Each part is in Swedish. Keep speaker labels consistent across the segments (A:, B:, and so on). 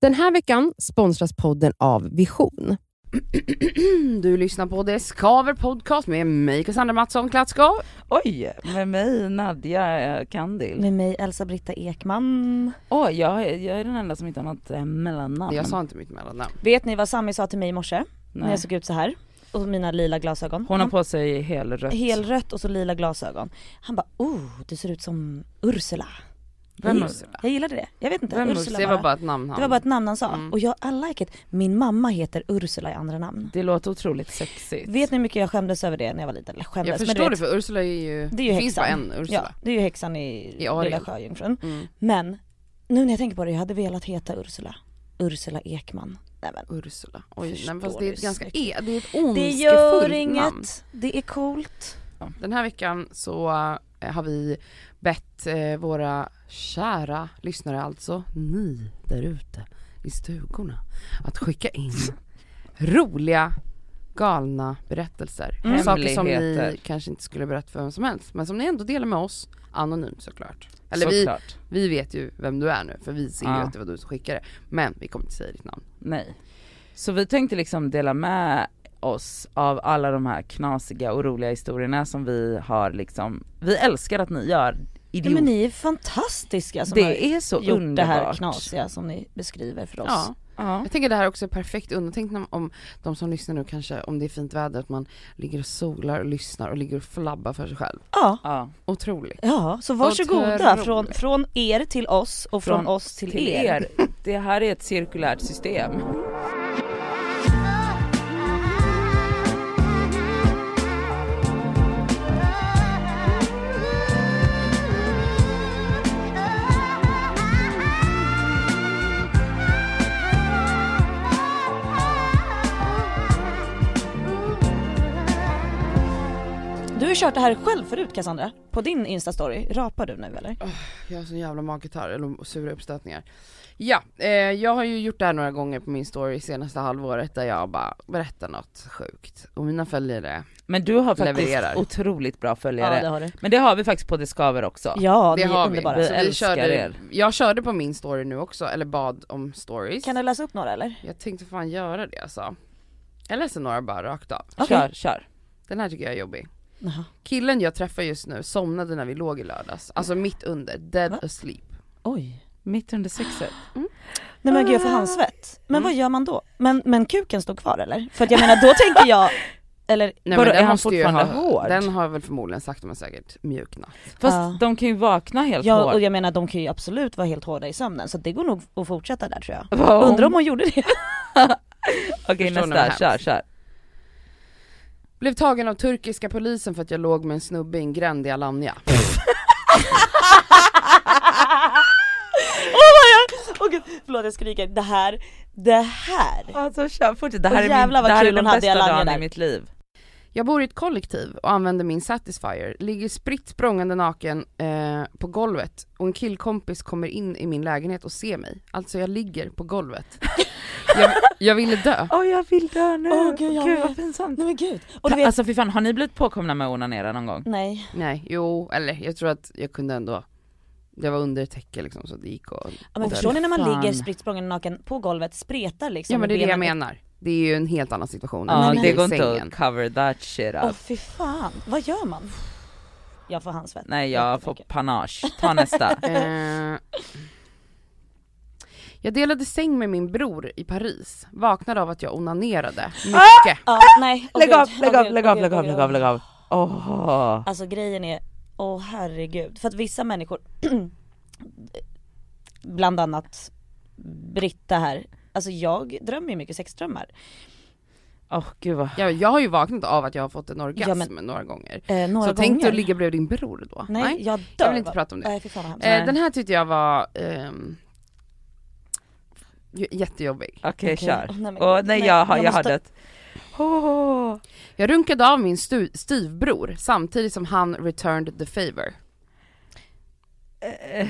A: Den här veckan sponsras podden av Vision.
B: Du lyssnar på Det Skaver Podcast med mig Cassandra Mattsson Klatskov.
C: Oj, med mig Nadja eh, Kandil.
D: Med mig Elsa-Britta Ekman.
C: Oj, jag, är- jag är den enda som inte har något eh, mellannamn.
B: Jag sa inte mitt mellannamn.
D: Vet ni vad Sami sa till mig i morse? När
C: Nej.
D: jag såg ut så här och mina lila glasögon.
C: Hon har på sig helrött.
D: Helrött och så lila glasögon. Han bara oh, du ser ut som Ursula.
C: Vem
D: Jag-
C: Ursula?
D: Jag gillade det. Jag vet inte.
C: Vem
D: Ursula
C: Ursula?
B: Det var bara ett namn han.
D: det var bara ett namn han sa.
B: Mm.
D: Och jag I like it. Min mamma heter Ursula i andra namn.
C: Det låter otroligt sexigt.
D: Vet ni hur mycket jag skämdes över det när jag var liten? Eller skämdes,
B: jag
D: men
B: förstår
D: du
B: det
D: vet,
B: för Ursula är ju,
D: Det är ju
B: finns bara
D: häxan.
B: en
D: Ja,
B: Ursula.
D: det är ju häxan i,
B: I Ariel.
D: Lilla Sjöjungfrun.
B: Mm.
D: Men nu när jag tänker på det, jag hade velat heta Ursula. Ursula Ekman. Nej, men.
B: Ursula. Oj, nej,
D: Förstår
B: men fast det är
D: du
B: ett ganska e,
D: snyggt.
B: det är ett
D: Det gör
B: ondskefullt namn.
D: inget, det är coolt.
B: Den här veckan så eh, har vi bett eh, våra kära lyssnare, alltså ni där ute i stugorna, att skicka in roliga galna berättelser.
C: Mm.
B: Saker som ni
C: Hemligheter.
B: kanske inte skulle berätta för vem som helst, men som ni ändå delar med oss anonymt såklart. Eller vi,
C: Såklart.
B: vi vet ju vem du är nu, för vi ser ju
C: Ja.
B: att det var du som skickade. Men vi kommer inte säga ditt namn.
C: Nej. Så vi tänkte liksom dela med oss av alla de här knasiga och roliga historierna som vi har liksom, vi älskar att ni gör
D: Ja,
C: idiot.
D: men ni är fantastiska som har
C: det är så
D: gjort
C: underbart.
D: det här knasiga som ni beskriver för oss.
B: Ja.
C: Ja.
B: Jag tänker det här också är perfekt undantänkt om, om de som lyssnar nu kanske, om det är fint väder, att man ligger och solar och lyssnar och ligger och flabbar för sig själv.
D: Ja.
C: ja.
B: Otroligt.
D: Ja, så varsågoda
B: Otroligt.
D: från, från er till oss och från, oss till, er.
C: Det här är ett cirkulärt system.
D: Du har kört det här själv förut Cassandra, på din instastory. Rapar du nu eller?
B: Jag har sån jävla magkatarr, eller sura uppstötningar. Ja, eh, jag har ju gjort det här några gånger på min story senaste halvåret där jag bara berättar något sjukt. Och mina följare,
C: Men du har faktiskt
B: Levererar.
C: otroligt bra följare.
D: har du.
C: Men det har vi faktiskt på Discover också.
D: Ja,
B: det
D: ni är
B: har vi.
D: underbara.
C: Vi
B: Så vi
C: älskar
B: körde,
C: er.
B: Jag körde på min story nu också, eller bad om stories.
D: Kan du läsa upp några eller?
B: Jag tänkte fan göra det alltså. Jag läser några bara rakt av.
D: Okej.
C: Kör, kör.
B: Den här tycker jag är jobbig.
D: Jaha.
B: Killen jag träffar just nu somnade när vi låg i lördags, alltså mitt under, dead
D: Va?
B: asleep.
D: Oj.
C: Mitt under sexet.
D: Nej men gud jag får handsvett. Men vad gör man då? Men, men kuken står kvar eller? För att jag menar då tänker jag, eller
B: Nej,
C: Vadå,
B: men den
C: är han
B: måste ju
C: fortfarande
B: ha,
C: hård?
B: Den har väl förmodligen sakta men säkert mjuknat.
C: Fast
D: Ja.
C: de kan ju vakna helt
D: Ja, och
C: hårt.
D: jag menar de kan ju absolut vara helt hårda i sömnen så det går nog att fortsätta där tror jag.
C: Vad
D: Undrar om hon gjorde det?
C: Okej
B: Förstår ni vad
C: nästa,
B: hemskt?
C: kör, kör.
B: Blev tagen av turkiska polisen för att jag låg med en snubbe i en gränd i Alanya.
D: Åh oh Åh gud, förlåt jag skriker. Det här, det här.
C: Alltså kör, fortsätt. Det
D: Och
C: här är,
D: jävlar
C: min,
D: vad
C: det här
D: kul
C: är den
D: hon hade i
C: bästa
D: Alanya
C: dagen i
D: där.
C: mitt liv.
B: Jag bor i ett kollektiv och använder min Satisfyer, ligger spritt språngande naken eh, på golvet och en killkompis kommer in i min lägenhet och ser mig. Alltså jag ligger på golvet. Jag, jag ville dö.
C: Åh jag vill dö nu,
D: Åh, gud, jag med.
C: pinsamt.
D: Nej men gud. Och du vet,
C: Alltså fy fan, har ni blivit påkomna med att onanera någon gång?
D: nej.
B: Nej, jo, eller jag tror att jag kunde ändå, jag var under ett täcke liksom så det gick och...
D: Ja, men
B: och-
D: förstår ni när man
C: fan.
D: ligger spritt språngande naken på golvet, spretar liksom.
B: Ja men det är det jag
D: benen-
B: menar. Det är ju en helt annan situation än
C: Ja
B: att ligga
C: det
B: i
C: går inte
B: sängen.
C: att cover that shit up.
D: Åh fy fan, vad gör man? Jag får handsvett.
C: Nej jag får
D: Jättemycket.
C: panage. Ta nästa.
B: Eh, jag delade säng med min bror i Paris, vaknade av att jag onanerade mycket.
D: Ja, nej. Åh,
C: Lägg
D: gud.
C: av,
D: Åh,
C: lägg av,
D: gud.
C: lägg
D: Åh,
C: av,
D: gud.
C: lägg
D: Åh,
C: av,
D: gud.
C: lägg av, lägg av. Åh.
D: Alltså grejen är, åh herregud. För att vissa människor, bland annat Britta här, alltså jag drömmer ju mycket sexdrömmar.
C: Åh gud vad
B: Jag, jag har ju vaknat av att jag har fått en orgasm
D: Ja, men-
B: några gånger.
D: Eh, några
B: så
D: gånger.
B: tänk dig att ligga bredvid din bror då.
D: Nej, jag dör.
B: jag vill inte prata om det.
D: Nej fy fan vad hemskt.
B: Eh, den här tyckte jag var ehm, j- jättejobbig.
C: Okej
D: Okej.
C: kör.
D: Åh, nej, men
C: Åh
D: gud.
C: nej
D: Nej,
C: jag har, jag
D: jag
C: har
D: måste-
C: dött. Åh.
B: Jag runkade av min stu- styvbror samtidigt som han returned the favor.
D: Oj. Eh,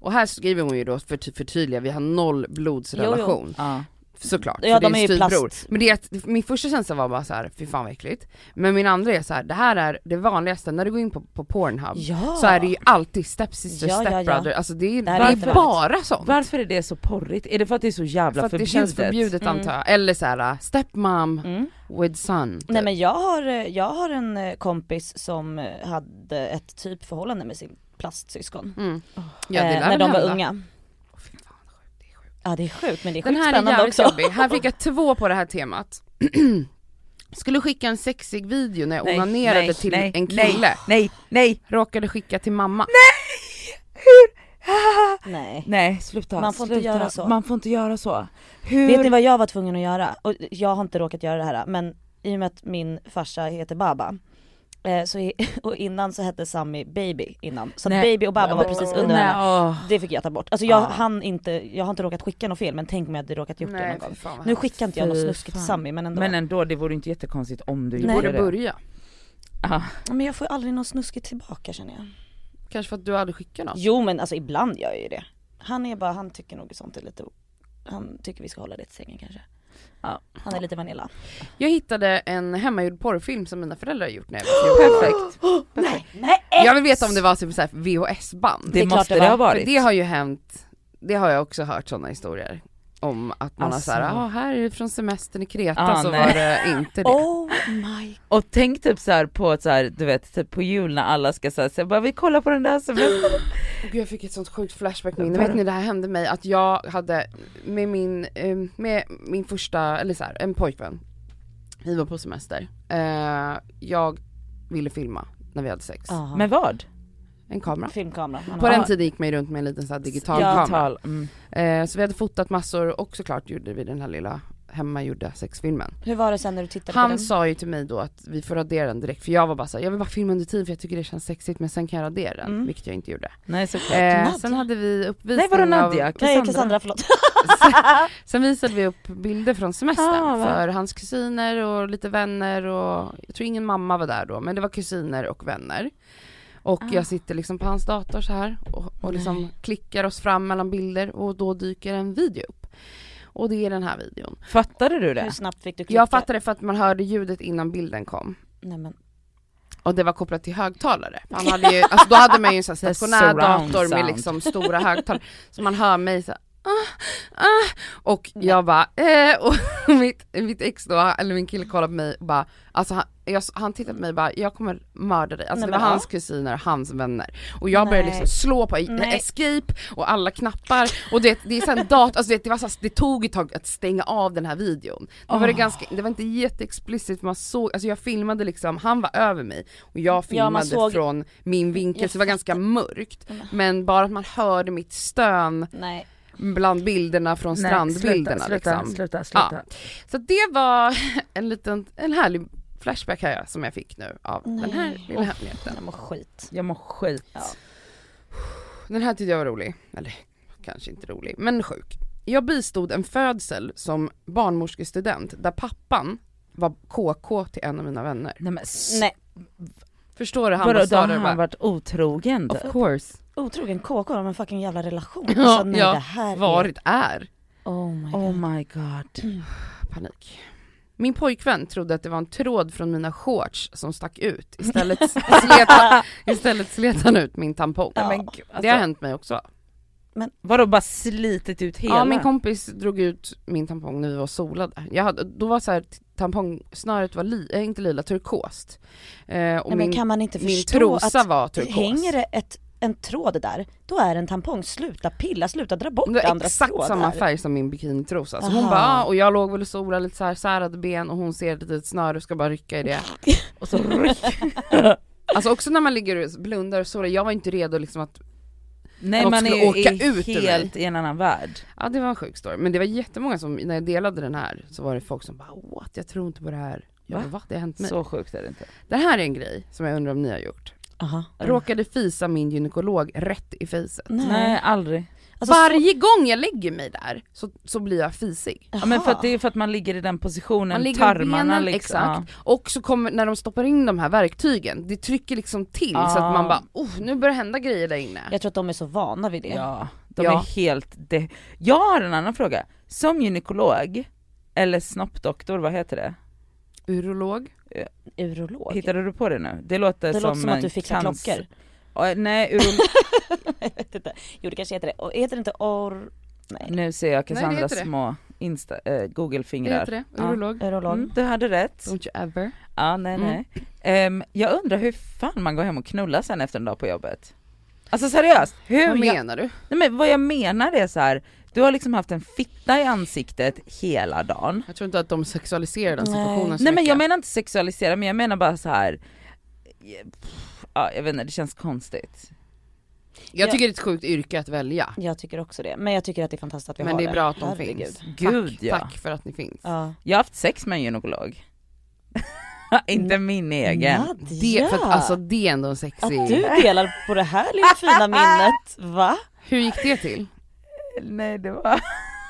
B: Och här skriver hon ju då för förtydliga, vi har noll blodsrelation.
C: Ja.
B: Såklart,
D: Ja,
B: för
D: de
B: det
D: är
B: är
D: ju
B: en styvbror.
D: plast.
B: Men det är att, min första känsla var bara så här, fy fan vad äckligt. Men min andra är så här, det här är det vanligaste, när du går in på, på Pornhub
D: Eh, Ja.
B: så är det ju alltid stepsister,
D: Ja, ja, ja.
B: stepbrother, alltså det är,
D: Det
B: det
D: här
C: är
B: är
C: inte
B: bara sånt.
C: Varför är det så porrigt? Är det för att det är så jävla
B: För att det
C: förbjudet?
B: känns förbjudet
D: Mm.
B: antar jag, eller såhär stepmom
D: Mm.
B: with son.
D: Nej men jag har, eh, jag har en eh, kompis som eh, hade ett typ förhållande med sin plastsyskon.
B: Mm. Ja, det
D: Eh,
B: lär
D: när
B: väl
D: de var
B: hända.
D: unga.
B: Åh, fy fan, vad sjukt, det är sjukt.
D: Ja det är sjukt men det är
B: Den
D: sjukt
B: här är
D: spännande
B: jävligt
D: också.
B: jobbig, här fick jag två på det här temat. Skulle skicka en sexig video när jag
C: Nej,
B: onanerade
C: nej,
B: till
C: nej,
B: en kille.
C: Nej, nej,
B: Råkade skicka till mamma.
D: Nej.
C: nej sluta.
D: Man får inte
C: sluta.
D: göra så.
C: Man får inte göra så. Hur?
D: Vet ni vad jag var tvungen att göra? Och jag har inte råkat göra det här men i och med att min farsa heter Baba eh, så, i- och innan så hette Sammy Baby innan. Så
C: Nej.
D: Baby och Baba var precis under
C: Nej,
D: varandra.
C: åh.
D: Det fick jag ta bort. Alltså jag,
C: Ah.
D: hann inte, jag har inte råkat skicka något fel men tänk om jag hade råkat gjort det någon gång.
B: fy fan vad
D: Nu skickar inte jag något
C: Fy
D: snuskigt till
C: fan.
D: Sammy men ändå.
C: Men eh, ändå, det vore inte jättekonstigt om du
D: Du
B: Du
C: gjorde
B: borde
C: det.
B: börja.
C: Ja.
D: Men jag får ju aldrig något snuskigt tillbaka känner jag.
B: Kanske för att du aldrig skickar något.
D: Jo men alltså ibland gör jag ju det. Han är bara, han tycker nog sånt är lite, o- han tycker vi ska hålla det till sängen kanske.
C: Ja.
D: Han är lite vanilla.
B: Jag hittade en hemmagjord porrfilm som mina föräldrar har gjort när jag var Perfekt.
D: Nej, nej!
B: Jag vill veta om det var typ såhär VHS-band.
C: Det,
D: är klart
C: måste det
D: det var.
C: ha
B: För
C: varit.
B: det har ju hänt, det har jag också hört sådana historier. Om att man
C: Alltså.
B: har såhär, ah, här är det från semestern i Kreta
C: Ah,
B: så
C: nej.
B: var det inte det.
D: Oh my
C: Och tänk typ så här på ett så här, du vet, typ på jul när alla ska säga så här, bara vi kollar på den där som
B: Gud, jag fick ett sånt sjukt flashback-minne. Vet ni det här hände mig att jag hade med min, eh, med min första, eller så här, en pojkvän. Vi var på semester. Eh, Jag ville filma när vi hade sex.
D: god.
C: Men vad?
B: En kamera.
D: filmkamera. Han
B: På
D: har-
B: den tiden gick man ju runt med en liten så här digital
D: Ja.
B: kamera.
C: Tal. Mm.
B: Eh, Så vi hade fotat massor och såklart gjorde vi den här lilla hemmagjorda sexfilmen.
D: Hur var det sen när du tittade på
B: Han
D: den?
B: sa ju till mig då att vi får radera den direkt för jag var bara såhär, jag vill bara filma under tiden för jag tycker det känns sexigt men sen kan jag radera den,
D: Mm.
B: vilket jag inte gjorde.
C: Nej såklart.
B: Eh,
D: Nadja?
B: sen hade vi uppvisning
C: Nej vadå
B: av-
C: Nadja?
D: Nej Cassandra förlåt.
B: Sen visade vi upp bilder från semestern
C: Ah, va?
B: för hans kusiner och lite vänner och jag tror ingen mamma var där då men det var kusiner och vänner. Och jag sitter liksom på hans dator så här och, och liksom klickar oss fram mellan bilder och då dyker en video upp. Och det är den här videon.
C: Fattade du
D: Hur
C: det?
D: snabbt fick du klicka?
B: Jag fattade för att man hörde ljudet innan bilden kom.
D: Nej, men.
B: Och det var kopplat till högtalare. Han hade ju, alltså då hade man ju en sån här
C: Det
B: stationär
C: surround
B: dator med
C: sound.
B: liksom stora högtalare. Så man hör mig så här, ah, ah. Och jag bara, eh, och mitt, mitt ex då, eller min kille kollade på mig och bara, alltså han, jag, han tittade på mig och bara, jag kommer mörda dig. Alltså
D: Nej,
B: det
D: men,
B: var hans kusiner och hans vänner. Och jag började
D: Nej.
B: liksom slå på
D: Nej.
B: escape och alla knappar. Och det, det är sån dator, alltså det, det, var så här, det tog ett tag att stänga av den här videon. Det var, det, ganska, det var inte jätteexplicit, man såg, alltså jag filmade liksom, han var över mig och jag filmade
D: såg-
B: från min vinkel
D: Jag
B: så det var ganska mörkt. Men bara att man hörde mitt stön
D: Nej.
B: bland bilderna från strandbilderna
C: sluta,
B: liksom.
C: sluta, sluta,
B: sluta. Så det var en liten, en härlig flashback här som jag fick nu av den här lilla hemligheten.
D: Jag mår skit.
C: Jag mår skit.
D: Ja.
B: Den här tyckte jag var rolig, eller kanske inte rolig, men sjuk. Jag bistod en födsel som barnmorskestudent där pappan var KK till en av mina vänner.
C: Nej men s-
D: Nej.
B: Förstår du? Han
C: vadå,
B: bara
C: då
B: sa
C: har
B: det
C: han
B: bara,
C: varit otrogen
B: of
C: typ.
B: course,
D: Otrogen KK, de har en fucking jävla relation.
B: Ja,
D: Alltså, nej,
B: ja.
D: det här är...
B: varit är.
D: Oh my god.
C: Oh my god.
B: Panik. Min pojkvän trodde att det var en tråd från mina shorts som stack ut, istället slet han, istället slet han ut min tampong.
D: Ja.
C: Men gud,
B: Det har
C: alltså,
B: hänt mig också.
C: vadå bara slitit ut hela?
B: Ja min kompis drog ut min tampong när vi var solade. Jag hade, då var så här, tampongsnöret var li, äh, inte lila, turkost. Eh, och
D: Nej, men
B: min,
D: kan man inte
B: min
D: förstå
B: trosa
D: att
B: var typ turkos.
D: hänger det ett, en tråd där, då är det en tampong. Sluta pilla, sluta dra bort
B: det var
D: andra
B: exakt
D: trådar.
B: samma färg som min bikinitrosa. Så hon
D: Aha.
B: bara, ah, och jag låg väl och solade lite så här särade ben och hon ser ett litet snöre och ska bara rycka i det.
C: Och så ryck.
B: Alltså också när man ligger och blundar och solar, jag var inte redo liksom att,
C: Nej
B: Något
C: man
B: skulle
C: är,
B: åka
C: är
B: ut ur mig.
C: helt i en annan värld.
B: ja det var en sjuk story. Men det var jättemånga som, när jag delade den här så var det folk som bara what, jag tror inte på det här. Jag
C: Va?
B: bara, va? Det har hänt mig.
C: Så sjukt är det inte.
B: Det här är en grej som jag undrar om ni har gjort.
D: Aha.
B: Råkade fisa min gynekolog rätt i fejset.
D: Nej.
C: Nej aldrig.
D: Alltså,
B: Varje gång jag lägger mig där så, så blir jag fisig.
D: Jaha.
C: Ja, men för att det är för att man ligger i den positionen,
B: Man ligger med
C: tarmarna
B: benen,
C: liksom.
B: exakt, och så kommer, när de stoppar in de här verktygen, det trycker liksom till så
C: Ah.
B: att man bara oh, nu börjar hända grejer där inne.
D: Jag tror att de är så vana vid det.
C: Ja, de
B: Ja.
C: är helt... De- jag har en annan fråga. som gynekolog, eller snoppdoktor, vad heter det?
B: Urolog?
D: Urolog.
C: Hittade du på det nu? Det låter
D: det
C: som
D: låter som att
C: en
D: du fixar
C: cancer-
D: klockor.
C: Ja, nej, urolog,
D: Jag vet inte. Jo det kanske heter det. Och heter det inte or... Nej.
C: nu ser jag
B: det
C: Cassandras
B: heter det.
C: små Insta, eh,
B: Det
C: Google-fingrar.
B: heter det?
C: Ja.
B: Urolog?
D: Urolog.
C: Mm, du hade rätt.
B: Don't you ever?
C: Ja, nej,
B: Mm.
C: nej. Ehm, jag undrar hur fan man går hem och knullar sen efter en dag på jobbet. Alltså seriöst, hur
B: Vad
C: jag,
B: menar du?
C: nej, men vad jag menar är så här. du har liksom haft en fitta i ansiktet hela dagen.
B: Jag tror inte att de sexualiserar den
D: Nej.
B: situationen så
C: Nej men
B: mycket.
C: jag menar inte sexualisera, men jag menar bara så här. pff, Ja, jag vet inte, det känns konstigt.
B: jag
D: Ja.
B: tycker det är ett sjukt yrke att välja.
D: Jag tycker också det. Men jag tycker att det är fantastiskt att vi
B: Men
D: har
B: det
D: det.
B: är bra att de
D: Herregud.
B: finns.
C: Gud
B: tack,
C: ja.
B: tack för att ni finns.
D: Ja.
C: Jag har haft sex med en gynekolog. inte min egen.
D: Nadja!
B: Det, för att, alltså, det är ändå en
D: att
B: sexig...
D: du delar på det här lilla fina minnet. Va?
B: Hur gick det till?
C: Nej det var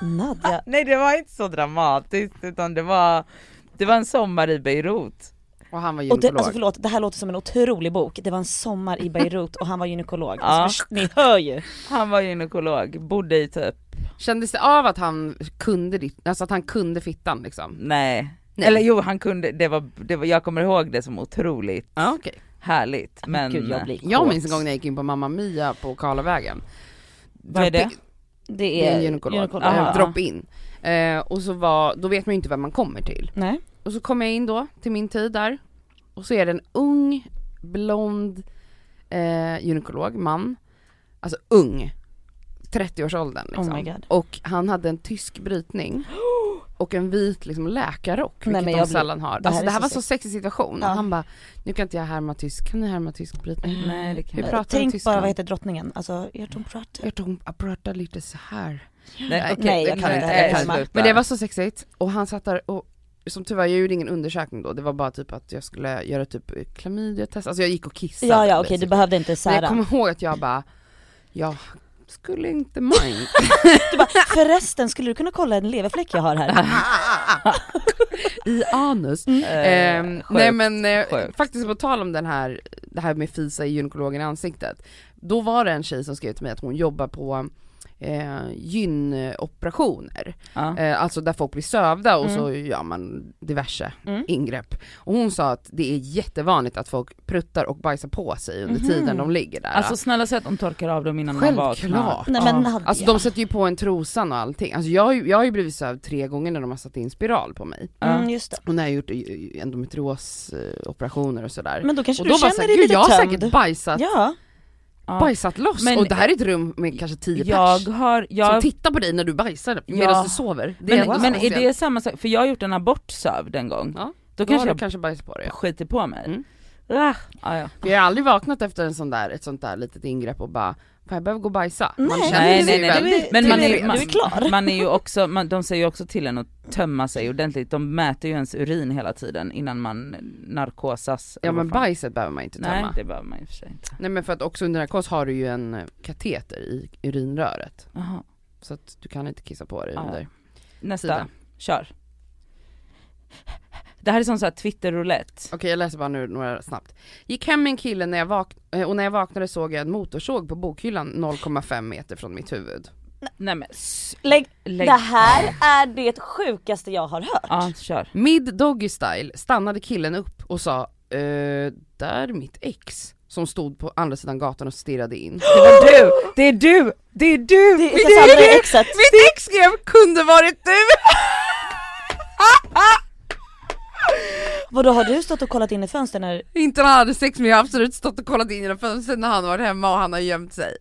D: Nadja.
C: Nej det var inte så dramatiskt utan det var, det var en sommar i Beirut.
B: Och han var
D: Och det,
B: gynekolog.
D: alltså förlåt, det här låter som en otrolig bok. Det var en sommar i Beirut och han var gynekolog.
C: Ja.
D: Alltså, först- ni hör ju.
C: Han var gynekolog, bodde i typ,
B: Kändes det av att han kunde ditt, alltså att han kunde fittan liksom?
C: nej.
B: Nej.
C: Eller jo han kunde, det var, det var, jag kommer ihåg det som otroligt
B: Ja okej.
C: härligt men
D: Gud jag blir
B: Jag
D: kåt.
B: minns en gång när jag gick in på Mamma Mia på Karlavägen.
C: Vad är det?
D: Det
B: Det är
D: är
B: en gynekolog.
D: gynekolog.
C: Aha.
B: Eh, Drop in. Eh, och så var, då vet man ju inte vem man kommer till.
D: Nej.
B: Och så kom jag in då till min tid där. Och så är det en ung, blond eh, gynekolog, man. Alltså ung. 30-årsåldern liksom.
D: Oh my God.
B: Och han hade en tysk brytning. Och en vit liksom läkarrock, vilket
D: Nej, men
B: de
D: jag blir-
B: sällan har.
D: Det här
B: alltså
D: är
B: det här
D: så
B: var så
D: sex-
B: sexig situation.
D: Ja.
B: Och han bara, nu kan inte jag härma tysk, kan ni härma tysk brytning?
C: Nej det kan
B: Hur
C: jag
B: pratar de
D: Tänk
B: tyska?
D: bara vad heter drottningen? Alltså, jag
B: Mm.
D: tror hon pratar.
B: Jag tror hon pratar lite så här.
C: Nej, okej,
D: Nej, jag
C: det
D: kan
B: heller.
D: inte
C: nej,
D: Emma.
C: sluta.
B: Men det var så sexigt och han satt där och som tyvärr, jag gjorde ingen undersökning då, det var bara typ att jag skulle göra typ klamydiatest, alltså jag gick och kissade.
D: Ja, ja okej du
B: basically.
D: behövde inte
B: Men jag
D: såhär,
B: kommer ihåg att jag bara, jag skulle inte mind.
D: förresten skulle du kunna kolla en leverfläck jag har här?
B: I anus.
D: Mm.
C: Eh,
B: Ehm,
C: sjukt.
B: nej men eh,
C: sjukt.
B: faktiskt på tal om den här, det här med fisa i gynekologen i ansiktet. Då var det en tjej som skrev till mig att hon jobbar på eh, gynoperationer.
C: Ja. Mm.
B: Eh, alltså där folk blir sövda och så gör man diverse
D: Mm.
B: ingrepp. Och hon sa att det är jättevanligt att folk pruttar och bajsar på sig under tiden de ligger där.
C: Mhm. Alltså snälla säg att de torkar av dem innan de vaknar.
B: Självklart!
D: Nej men
C: Ja.
D: Nadja.
B: Alltså de sätter ju på en trosan och allting. Alltså jag, har ju- jag har ju blivit sövd tre gånger när de har satt in spiral på mig.
D: mm, just det.
B: Och när jag har gjort eh, endometriosoperationer och sådär.
D: Men då kanske
B: och
D: du
B: då bara
D: känner
B: såhär,
D: dig
B: gud
D: lite
B: jag har
D: tömd.
B: säkert bajsat,
D: Ja,
C: Ja.
B: bajsat loss.
C: Men-
B: och det här är ett rum med kanske tio
C: Jag
B: pers.
C: har, jag,
B: Som tittar på dig när du bajsar
C: Ja.
B: medan du sover. Det
C: men,
B: är
C: men är det samma sak, för jag har gjort en abort sövd en gång.
B: Ja.
C: Då,
B: då
C: kanske
B: kanske har
C: jag
B: du kanske bajsat på dig.
C: skiter på mig.
B: Mm.
C: Ah, ah, ja.
B: För jag har aldrig vaknat efter en sån där, ett sånt där litet ingrepp och bara Fan jag behöver gå och bajsa. Man
D: Nej,
B: känner
C: nej,
B: sig
C: nej, nej.
B: väldigt
D: Men
C: Men man är,
D: du-
B: tillfreds.
C: man,
D: du är klar.
C: man är ju också, man, de säger ju också till en att tömma sig ordentligt, de mäter ju ens urin hela tiden innan man narkosas.
B: Ja
C: eller
B: men
C: vad fan.
B: bajset behöver man inte
C: Nej
B: tömma. Nej,
C: det behöver man i och för sig inte.
B: men för att också under narkos har du ju en eh, kateter i urinröret.
C: Aha.
B: Så att du kan inte kissa på dig
C: Ja.
B: under.
C: Nästa,
B: Sida.
C: kör. Det här är som så här twitter-roulette.
B: Okej jag läser bara nu några snabbt. Gick hem med en kille när jag vak- eh, och när jag vaknade såg jag en motorsåg på bokhyllan 0,5 meter från mitt huvud.
C: Nej men s-
D: lägg,
C: lägg.
D: det här är det sjukaste jag har hört.
C: Ja kör.
B: Mid doggy style stannade killen upp och sa eh, där är mitt ex. Som stod på andra sidan gatan och stirrade in.
C: Det var du, det är du, det är du!
D: Det är Cassandra i exet.
B: Mitt ex skrev kunde varit du!
D: Vadå har du stått och kollat in i fönstret när,
B: Inte när han hade sex men jag har absolut stått och kollat in genom fönstret när han varit hemma och han har gömt sig.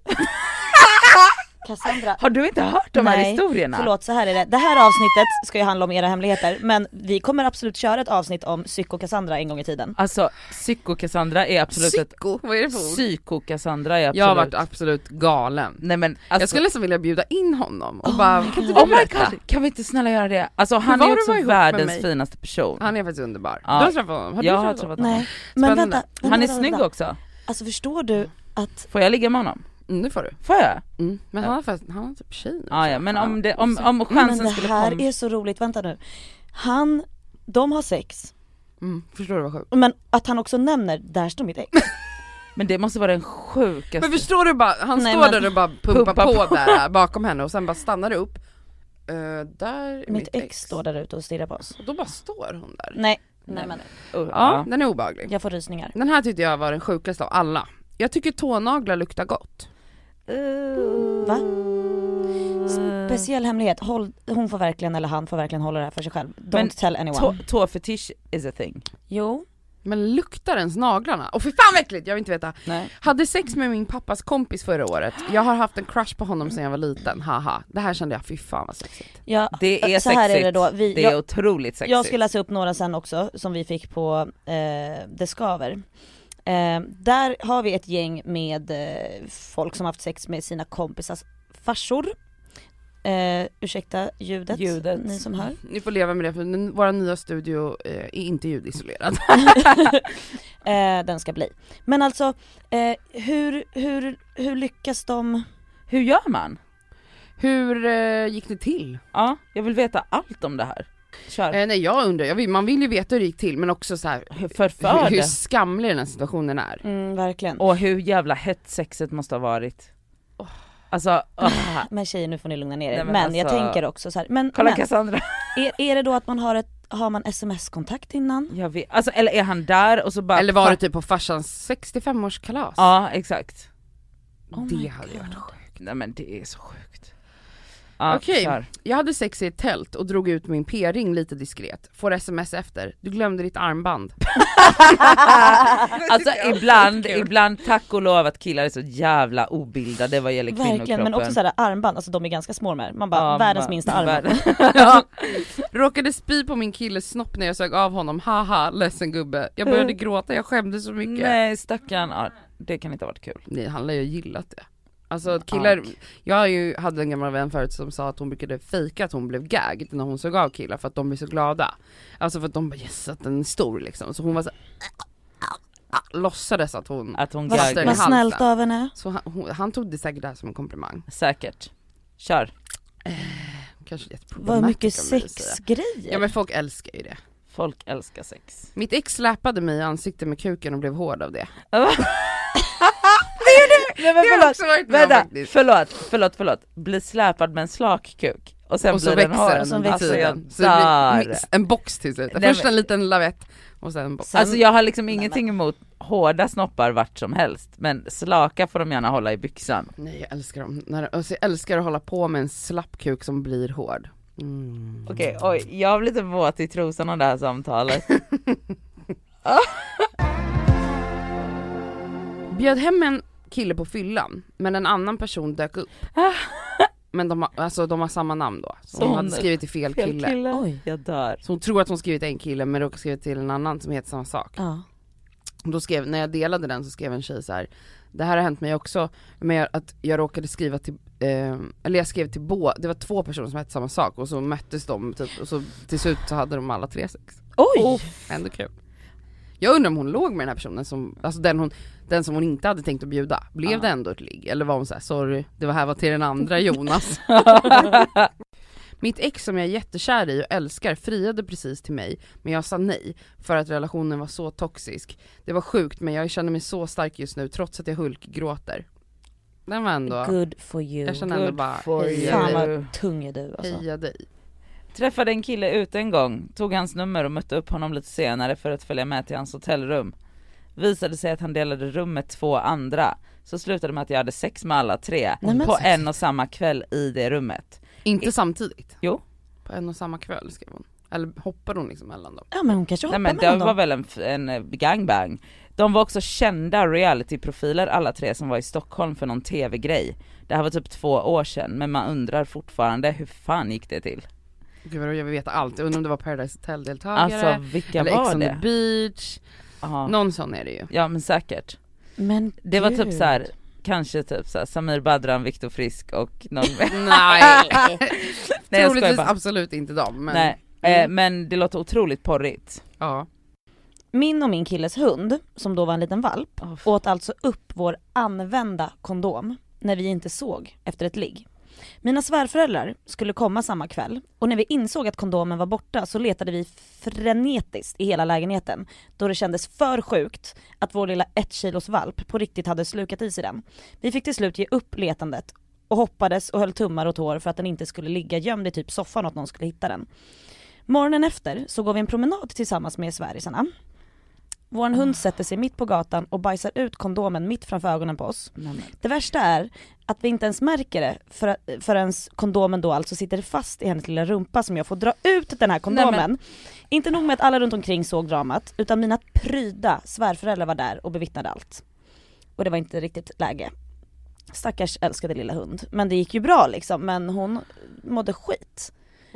D: Cassandra?
C: Har du inte hört de här
D: Nej,
C: historierna?
D: Förlåt så här är det, det här avsnittet ska ju handla om era hemligheter men vi kommer absolut köra ett avsnitt om psyko-Cassandra en gång i tiden.
C: Alltså psyko-Cassandra är absolut ett
B: Psyko, vad är det för ord?
C: Psyko-Cassandra är absolut...
B: Jag har varit absolut galen.
C: Nej men alltså,
B: Jag skulle nästan vilja bjuda in honom och bara, kan inte du
C: Oh my
B: berätta?
C: god, kan vi inte snälla göra det? Alltså han
B: var
C: är
B: du
C: också
B: var ihop med
C: världens
B: mig?
C: finaste person.
B: Han är faktiskt underbar.
C: Ja.
B: Du har träffat honom? Har du
C: jag har
B: träffat honom?
C: träffat honom.
D: Nej men
B: Spännande.
D: vänta, vänta.
C: Han är
D: vänta,
C: snygg
D: vänta.
C: också.
D: Alltså förstår du att,
C: Får jag ligga med honom?
B: Mm, det får du.
C: Får jag?
B: Mm. Men han har, fast, han har typ tjej nu.
C: Ah, ja, men om, det, om, om
D: men
C: chansen
D: det
C: skulle
D: här
C: komma...
D: är så roligt, vänta nu. Han, de har sex,
B: Mm, förstår du vad sjukt?
D: men att han också nämner, där står mitt ex.
C: Men det måste vara den sjukaste...
B: Men förstår du bara, han
D: Nej,
B: står
D: men-
B: där och bara pumpar
C: Pumpa
B: på, där bakom henne och sen bara stannar det upp eh, där är
D: Mitt ex står där ute och stirrar på oss.
B: Och då bara står hon där.
D: Nej, nej men
C: Uh,
B: Ja,
C: ja.
B: den är obehaglig.
D: jag får rysningar.
B: Den här tyckte jag var den sjukaste av alla. Jag tycker tånaglar luktar gott.
D: Va? Speciell hemlighet, Håll, hon får verkligen, eller han får verkligen hålla det här för sig själv. Don't
C: Men
D: tell anyone.
C: Tå, tåfetisch is a thing.
D: jo,
B: Men luktar ens naglarna? Åh fy fan vad äckligt, jag vill inte veta.
C: Nej.
B: Hade sex med min pappas kompis förra året, jag har haft en crush på honom sedan jag var liten, haha. Det här kände jag, fy fan vad sexigt.
D: jag,
C: Det är
D: så här är det
C: sexigt.
D: då. Vi,
C: Det är
D: jag,
C: otroligt sexigt.
D: Jag ska läsa upp några sen också som vi fick på eh, Det skaver. Eh, där har vi ett gäng med eh, folk som haft sex med sina kompisars farsor. Eh, ursäkta ljudet,
C: Ljudet.
D: ni som hör.
B: Ni får leva med det för den- vår nya studio eh, är inte ljudisolerad.
D: Eh, den ska bli. Men alltså, eh, hur, hur, hur lyckas de?
C: Hur gör man?
B: Hur eh, gick det till?
C: Ja, jag vill veta allt om det här. Kör.
B: Eh, nej jag undrar, jag vill, man vill ju veta hur det gick till men också så här,
C: Hur
B: hur,
C: förför
B: hur
C: det?
B: skamlig den här situationen är.
D: Mm, verkligen.
C: Och hur jävla hett sexet måste ha varit. Alltså, åh.
D: Ah, Men tjejer nu får ni lugna ner er.
C: Nej,
D: men
C: men
D: jag
C: alltså-
D: tänker också så här. men,
C: kolla
D: men
C: Cassandra.
D: är, är det då att man har ett, har man sms-kontakt innan?
C: Jag vet. Alltså, eller är han där och så bara...
B: Eller var det typ på farsans 65-årskalas?
C: Ja, exakt.
D: Oh my
B: det hade ju varit
D: God.
B: sjukt.
C: Nej men det är så sjukt. Ja,
B: Okej.
C: kör.
B: Jag hade sex i ett tält och drog ut min p-ring lite diskret, får sms efter, du glömde ditt armband.
C: Alltså ibland, ibland tack och lov att killar är så jävla obildade vad gäller
D: Verkligen, men också
C: kvinnokroppen.
D: såhär armband, alltså de är ganska små de här. Man bara,
C: Ja,
D: världens
C: va-
D: minsta armband.
C: världens-
B: Ja. Råkade spy på min killes snopp när jag sög av honom, haha ledsen gubbe. Jag började
D: Mm.
B: gråta, jag skämdes så mycket. Nej,
C: Nej stackarn, ja, det kan inte ha varit kul.
B: han lär ju ha gillat det. Alltså att killar, jag har ju, hade en gammal vän förut som sa att hon brukade fejka att hon blev gagged när hon såg av killar för att de blir så glada. Alltså för att de bara yes att den är stor liksom. Så hon var så låtsades att hon,
C: Att hon
B: Vad-
C: gaggade.
B: Fastare
D: Vad,
B: i
D: vad
B: halsen.
D: snällt av henne.
B: så han, hon, han tog det säkert där som en komplimang.
C: Säkert. Kör.
B: Kanske jätteproblematiskt
D: Vad mycket
B: av mig att säga.
D: sexgrejer.
B: Ja men folk älskar ju det.
C: Folk älskar sex.
B: Mitt ex släpade mig i ansiktet med kuken och blev hård av det. Det
C: Nej men
B: har jag
C: förlåt,
B: också varit med om
C: vänta,
B: faktiskt.
C: förlåt, förlåt, förlåt. Bli släpad med en slak kuk och sen
B: Och så
C: blir den
B: växer
C: hård. Alltså,
B: den under
D: så växer
B: tiden.
C: den.
B: Så det blir
C: Där.
B: mix- en box till slut.
C: Nej,
B: Först
C: men-
B: en liten lavett och sen en box.
D: Sen,
C: Alltså jag har liksom
D: Nej, men-
C: ingenting emot hårda snoppar vart som helst men slaka får de gärna hålla i byxan.
B: Nej jag älskar dem. När, alltså, jag älskar att hålla på med en slapp kuk som blir hård. Mm.
C: Okej, oj, jag blir lite våt i trosan av det här samtalet.
B: Bjöd hem en kille på fyllan, men en annan person dök upp. Men de har, alltså, de har samma namn då, så,
C: Så
B: hon
C: hon-
B: hade skrivit till fel,
C: Fel
B: kille.
C: kille.
D: Oj.
C: Jag dör.
B: Så hon tror att hon skrivit en kille men råkade skriva till en annan som heter samma sak.
D: ja.
B: Och Då skrev, när jag delade den så skrev en tjej så här. det här har hänt mig också, men jag, att jag råkade skriva till, eh, eller jag skrev till båda, det var två personer som hette samma sak och så möttes de typ, och så till slut så hade de alla tre sex.
C: Oj!
B: Ändå kul. Jag undrar om hon låg med den här personen som, alltså den hon, den som hon inte hade tänkt att bjuda, blev
C: Ja.
B: det ändå ett ligg? Eller var hon så här: sorry, det var här var till den andra Jonas. Mitt ex som jag är jättekär i och älskar friade precis till mig, men jag sa nej för att relationen var så toxisk. Det var sjukt men jag känner mig så stark just nu trots att jag hulkgråter. Den var ändå,
D: Good for you.
B: jag känner ändå bara,
C: for
D: Fan
B: heja dig,
D: vad tung är du alltså.
B: heja dig.
C: Träffade en kille ute en gång, tog hans nummer och mötte upp honom lite senare för att följa med till hans hotellrum. Visade sig att han delade rum med två andra, så slutade med att jag hade sex med alla tre
D: Nej, men-
C: på en och samma kväll i det rummet.
B: Inte samtidigt?
C: Jo.
B: På en och samma kväll skrev hon. Eller hoppade hon liksom mellan dem?
D: Ja men hon kanske hoppar
C: Nej men
D: mellan
C: det
D: dem.
C: var väl en, f- en eh, gangbang. De var också kända realityprofiler alla tre som var i Stockholm för någon tv-grej. Det här var typ två år sedan men man undrar fortfarande hur fan gick det till?
B: Gud vad jag vill veta allt, jag undrar om det var Paradise Hotel-deltagare,
C: Alltså vilka
B: eller liksom Ex
C: var
B: on the
C: det?
B: beach,
C: Ja.
B: någon sån är det ju.
C: Ja men säkert.
D: Men
C: Det var typ
D: gud.
C: så här, kanske typ så här, Samir Badran, Viktor Frisk och någon mer.
B: Nej,
C: Nej jag skojar
B: troligtvis
C: bara.
B: absolut inte dem men
C: Nej. Eh,
B: Mm.
C: men det låter otroligt porrigt.
B: ja.
D: Min och min killes hund, som då var en liten valp,
C: Åh, f-
D: åt alltså upp vår använda kondom när vi inte såg efter ett ligg. Mina svärföräldrar skulle komma samma kväll och när vi insåg att kondomen var borta så letade vi frenetiskt i hela lägenheten då det kändes för sjukt att vår lilla ett kilos valp på riktigt hade slukat i sig den. Vi fick till slut ge upp letandet och hoppades och höll tummar och tår för att den inte skulle ligga gömd i typ soffan och att någon skulle hitta den. Morgonen efter så går vi en promenad tillsammans med svärisarna. Vår hund sätter sig mitt på gatan och bajsar ut kondomen mitt framför ögonen på oss.
C: Nej, men.
D: Det värsta är att vi inte ens märker det för, förrän kondomen då alltså sitter fast i hennes lilla rumpa som jag får dra ut den här kondomen.
C: Nej,
D: Inte nog med att alla runt omkring såg dramat utan mina pryda svärföräldrar var där och bevittnade allt. Och det var inte riktigt läge. Stackars älskade lilla hund. Men det gick ju bra liksom men hon mådde skit.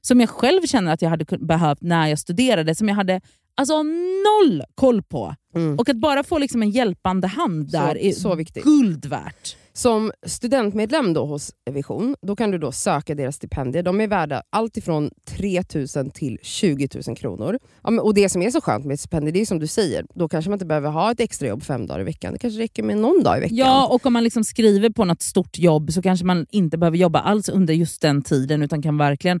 C: som jag själv känner att jag hade kun- behövt när jag studerade, som jag hade alltså, noll koll på.
A: Mm.
C: Och att bara få liksom en hjälpande hand
A: Så-
C: där är
A: så viktigt.
C: guld värt.
A: Som studentmedlem då hos Vision då kan du då söka deras stipendier. De är värda allt ifrån 3 000 till 20 000 kronor. Ja, men, och Det som är så skönt med ett stipendium det är som du säger, då kanske man inte behöver ha ett extrajobb fem dagar i veckan. Det kanske räcker med någon dag i veckan.
C: Ja, och om man liksom skriver på något stort jobb så kanske man inte behöver jobba alls under just den tiden utan kan verkligen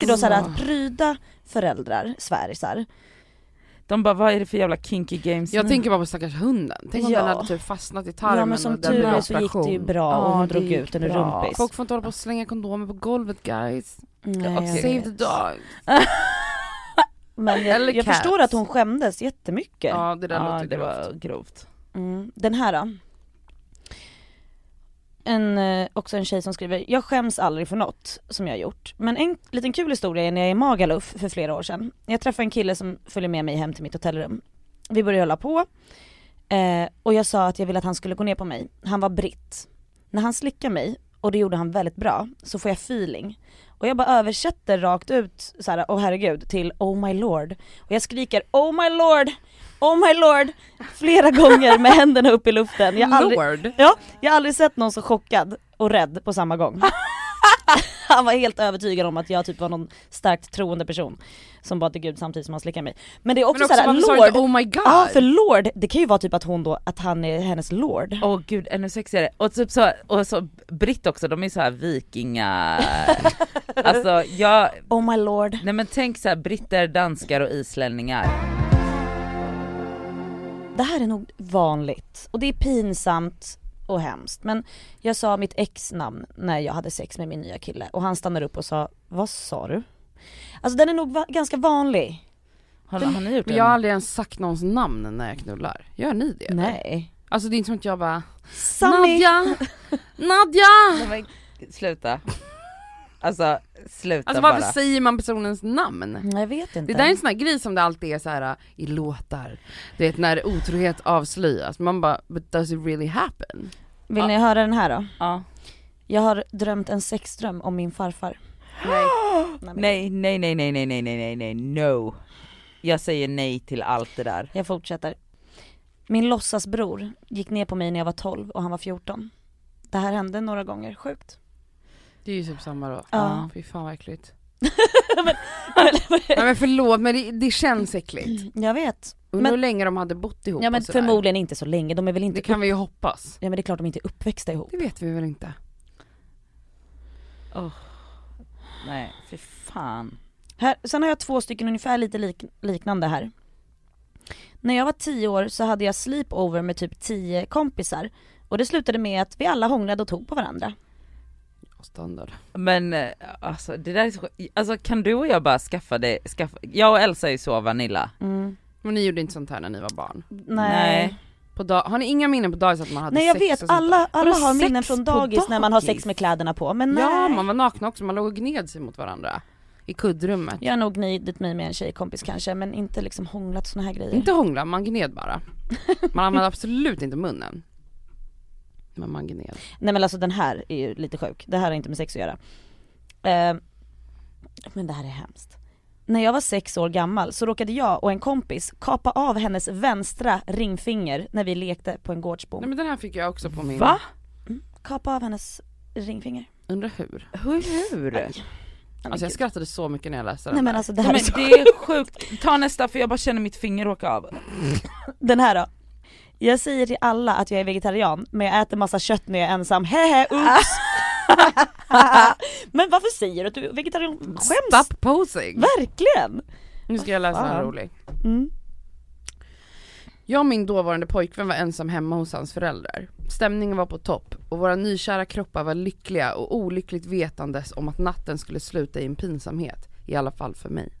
D: dig då så här att pryda föräldrar, svärisar.
C: De bara, vad är det för jävla kinky games
B: Jag tänker bara på stackars hunden. Tänk om
D: Ja.
B: den hade typ fastnat i tarmen
D: Ja men som
B: och den
D: tur
B: blev
D: är så gick det ju
B: operation.
D: bra och
C: Ja,
D: hon
C: det
D: drog
C: gick
D: ut den ur
C: bra.
D: rumpis.
B: Folk får inte hålla på och slänga kondomer på golvet guys.
D: Nej, jag
C: Okej.
B: Save
D: vet.
B: the dog.
D: Men jag,
B: Eller
D: jag
B: cats.
D: förstår att hon skämdes jättemycket.
B: Ja det där
C: Ja,
B: låter
C: det
B: grovt.
C: var grovt.
D: Mm. Den här då. En, eh, också en tjej som skriver, jag skäms aldrig för något som jag har gjort. Men en liten kul historia är när jag är i Magaluf för flera år sedan. Jag träffade en kille som följer med mig hem till mitt hotellrum. Vi började hålla på eh, och jag sa att jag ville att han skulle gå ner på mig. Han var britt. När han slickar mig, och det gjorde han väldigt bra, så får jag feeling. Och jag bara översätter rakt ut så här, oh herregud, till oh my lord. Och jag skriker oh my lord, oh my lord flera gånger med händerna upp i luften. Jag har aldrig,
B: Lord.
D: Ja, jag har aldrig sett någon så chockad och rädd på samma gång. Han var helt övertygad om att jag typ var någon starkt troende person som bad till gud samtidigt som han slickade mig. Men det är också,
B: Men också
D: såhär,
B: varför sa du
D: lord,
B: inte oh my god?
D: ja Ah, för lord, det kan ju vara typ att hon då, att han är hennes lord.
C: Åh gud, ännu sexigare. Och, typ så, och så Britt också, de är så här vikinga... alltså jag,
D: Oh my lord.
C: Nej men tänk så här, britter, danskar och islänningar.
D: Det här är nog vanligt och det är pinsamt och hemskt men jag sa mitt ex namn när jag hade sex med min nya kille och han stannade upp och sa vad sa du? Alltså den är nog va- ganska vanlig.
C: Har, har ni gjort
B: Men
C: det?
B: jag har aldrig ens sagt någons namn när jag knullar. Gör ni det? eller?
D: Nej.
B: Alltså det är inte som att jag bara
D: Sunny!
B: Nadja! Nadja!
C: Nej, men, sluta. Alltså sluta
B: Alltså
C: bara.
B: varför säger man personens namn?
D: Jag vet inte.
B: Det där är en sån här grej som det alltid är så här äh, i låtar, du vet när otrohet avslöjas, man bara but does it really happen?
D: Vill ni höra den här då?
C: Ja.
D: Jag har drömt en sexdröm om min farfar.
B: Nej.
D: men-
C: Nej, nej, nej, nej, nej, nej, nej, nej, nej, no. Jag säger nej till allt det där.
D: Jag fortsätter. Min låtsasbror gick ner på mig när jag var 12 och han var 14. Det här hände några gånger, sjukt.
B: Det är ju typ samma då.
D: Ja.
B: Fy fan vad äckligt. Nej men förlåt men det, det känns äckligt.
D: Jag vet.
B: Undrar
D: Men-
B: hur länge de hade bott ihop
D: Ja men
B: och sådär.
D: förmodligen inte så länge, de är väl inte
B: Det kan vi ju hoppas.
D: Ja men det är klart de inte är uppväxta ihop.
B: Det vet vi väl inte.
C: Nej, för fan.
D: Här, sen har jag två stycken ungefär lite lik, liknande här. När jag var 10 år så hade jag sleepover med typ 10 kompisar och det slutade med att vi alla hånglade och tog på varandra.
B: Standard.
C: Men eh, alltså det där är så sjukt. alltså kan du och jag bara skaffa det, skaffa, jag och Elsa är ju så vanilla.
B: Men ni gjorde inte sånt här när ni var barn?
D: Nej.
C: Nej.
D: Mm. Nej.
B: På dag- har ni inga minnen på dagis att man hade
D: jag
B: sex och
D: vet,
B: sånt där?
D: alla, alla
B: Vadå
D: har
B: sex
D: minnen från
B: på
D: dagis, när man har
B: dagis?
D: sex med kläderna på men nej.
B: Ja man var nakna också, man låg och gned sig mot varandra. I kuddrummet.
D: Jag har nog gnidit mig med en tjejkompis kanske men inte liksom hånglat såna här grejer.
B: Inte hångla, man gned bara. Man använde absolut inte munnen. Men man gned.
D: Nej men alltså den här är ju lite sjuk, det här har inte med sex att göra. Eh, men det här är hemskt. När jag var sex år gammal så råkade jag och en kompis kapa av hennes vänstra ringfinger när vi lekte på en gårdsbom.
B: Nej men den här fick jag också på min...
C: Va?
D: Kapa av hennes ringfinger.
B: Undrar hur?
C: Hur? hur? Nej,
D: Nej,
B: Alltså jag
D: gud.
B: skrattade så mycket när jag läste den
D: Nej men
B: där.
D: alltså det här
C: men
D: är så
C: det är sjukt, ta nästa för jag bara känner mitt finger åka av.
D: Den här då. Jag säger till alla att jag är vegetarian men jag äter massa kött när jag är ensam. Hehe, oops! men varför säger du att du är vegetarian? alltså, Skäms!
B: Stop posing!
D: Verkligen!
B: Nu ska jag läsa en
D: fan.
B: rolig.
D: Mm.
B: Jag och min dåvarande pojkvän var ensam hemma hos hans föräldrar. Stämningen var på topp och våra nykära kroppar var lyckliga och olyckligt vetandes om att natten skulle sluta i en pinsamhet, i alla fall för mig.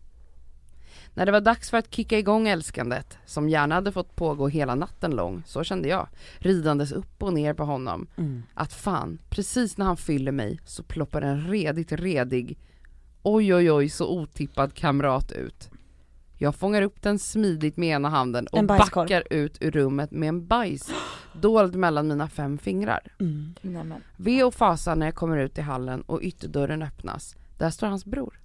B: När det var dags för att kicka igång älskandet, som gärna hade fått pågå hela natten lång, så kände jag, ridandes upp och ner på honom,
D: Mm.
B: att fan, precis när han fyller mig så ploppar en redigt redig, oj oj oj så otippad kamrat ut. Jag fångar upp den smidigt med ena handen och
D: En bajskorv.
B: backar ut ur rummet med en bajs dold mellan mina fem fingrar.
C: Nej, men.
B: Ve och fasa när jag kommer ut i hallen och ytterdörren öppnas. Där står hans bror.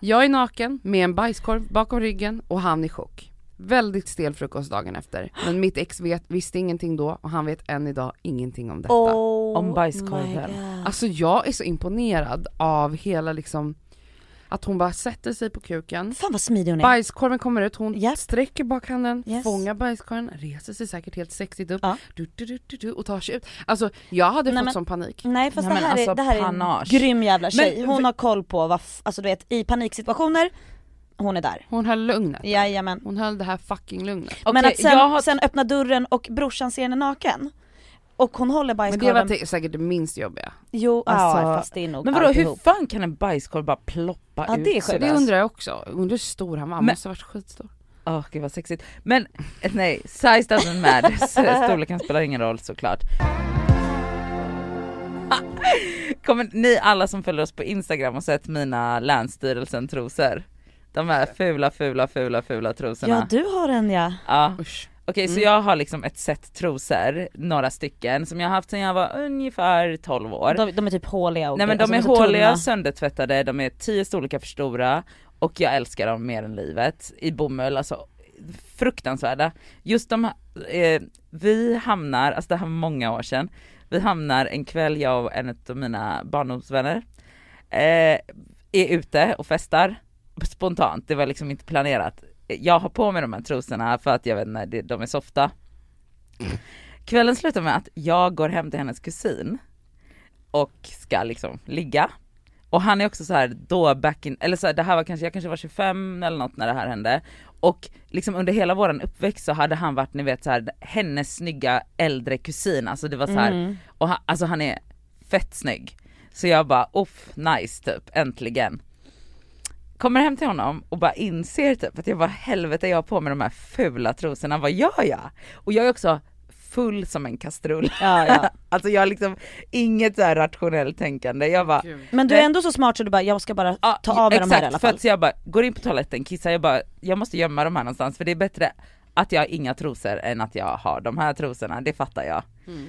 B: Jag är naken med en bajskorv bakom ryggen och han i chock. Väldigt stel frukost dagen efter, men mitt ex vet, visste ingenting då och han vet än idag ingenting om detta.
D: Oh
C: Om bajskorven.
D: my God.
B: Alltså jag är så imponerad av hela liksom, att hon bara sätter sig på kuken,
D: Fan vad smidig hon är.
B: bajskorven kommer ut, hon
D: Japp.
B: sträcker bakhanden,
D: Yes.
B: fångar bajskorven, reser sig säkert helt sexigt upp
D: Ja.
B: du, du, du, du, du, och tar sig ut. Alltså jag hade
D: Nej,
B: fått
D: men-
B: sån panik.
D: Nej fast
C: Ja,
D: det,
C: men
D: här
C: alltså,
D: är, det här är en
C: panache.
D: grym jävla tjej.
B: Men-
D: hon har koll på vad, f- alltså du vet i paniksituationer, hon är där.
B: Hon höll lugnet.
D: Jajamän.
B: Hon höll det här fucking lugnet.
C: Okej,
D: men att sen,
C: jag har,
D: sen öppna dörren och brorsan ser henne naken. Och hon håller
B: Men det var
D: bajskorven.
B: te- säkert det minst jobbiga.
D: Jo,
C: Alltså-
D: ja, fast det är nog
C: men vadå hur
D: alltihop.
C: fan kan en bajskorv bara ploppa
D: Ja,
C: ut
D: det är
C: sådär?
D: sjukt.
B: Det undrar jag också. Undrar hur stor han var, han
C: Men-
B: måste ha varit skitstor.
C: Åh gud vad sexigt. Men eh, nej, size doesn't matter, storleken spelar ingen roll såklart. Kommer ni alla som följer oss på Instagram och sett mina Länsstyrelsen trosor? De här fula fula fula fula
D: Ja
C: trosorna.
D: du har en ja.
C: Ja.
B: Usch.
C: Okej så
B: Mm.
C: jag har liksom ett set trosor, några stycken som jag har haft sedan jag var ungefär 12 år.
D: De, de är typ håliga och
C: Nej men de
D: alltså,
C: är
D: så tunna.
C: håliga, söndertvättade, de är tio storlekar för stora och jag älskar dem mer än livet i bomull, alltså fruktansvärda. Just de, eh, vi hamnar, alltså det här var många år sedan, vi hamnar en kväll, jag och en av mina barndomsvänner eh, är ute och festar spontant, det var liksom inte planerat. Jag har på mig de här trosorna för att jag vet inte, det- de är softa. Kvällen slutar med att jag går hem till hennes kusin och ska liksom ligga. Och han är också så här då back in, eller så här, det här var kanske, jag kanske var 25 eller något när det här hände. Och liksom under hela våran uppväxt så hade han varit ni vet så här hennes snygga äldre kusin, alltså det var så här,
D: Mm.
C: och han, alltså han är fett snygg. Så jag bara off nice typ, äntligen. Kommer hem till honom och bara inser typ att jag bara helvete jag har på mig de här fula trosorna, vad gör jag? Och jag är också full som en kastrull.
D: Ja, ja.
C: Alltså jag har liksom inget så här rationellt tänkande. Jag bara,
D: Men du är ändå så smart så du bara, jag ska bara
C: ja,
D: ta av mig
C: exakt,
D: de här i alla
C: För
D: fall.
C: att, så jag bara går in på toaletten, kissar, jag bara, jag måste gömma de här någonstans för det är bättre att jag har inga trosor än att jag har de här trosorna, det fattar jag.
D: Mm.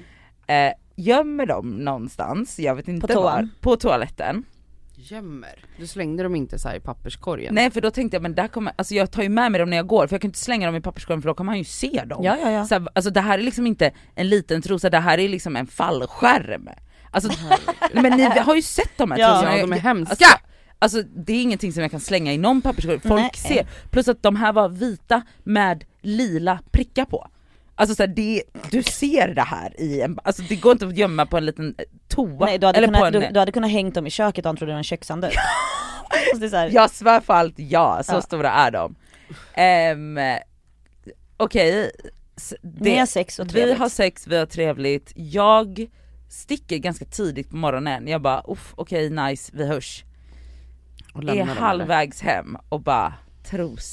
C: Eh, gömmer dem någonstans, jag vet inte
D: toan?
C: var, på toaletten.
B: Gömmer. Du slängde dem inte så här i papperskorgen.
C: Nej för då tänkte jag men där kommer, alltså jag tar ju med mig dem när jag går för jag kan inte slänga dem i papperskorgen för då kommer han ju se dem.
D: Ja, ja, ja.
C: Så här, alltså det här är liksom inte en liten trosa, det här är liksom en fallskärm. Alltså, men ni har ju sett de här
D: Ja.
C: trosorna.
B: Ja, de är hemska.
C: Alltså, alltså det är ingenting som jag kan slänga i någon papperskorg, folk
D: Nej.
C: ser. Plus att de här var vita med lila prickar på. Alltså så här, det, du ser det här i en, alltså det går inte att gömma på en liten eh, toa.
D: Nej du hade,
C: eller på
D: kunnat,
C: en,
D: du, du hade kunnat hängt dem i köket och han trodde det var en kökshandduk. alltså, det är så här,
C: Jag svär för allt ja, så
D: Ja.
C: stora är de. Ehm, okej, s-
D: Ni
C: det,
D: har sex och
C: vi
D: trevligt.
C: har sex, vi har trevligt, jag sticker ganska tidigt på morgonen, jag bara uff okej nice, vi hörs.
B: Och
C: Är
B: lämnar dem där.
C: halvvägs hem och bara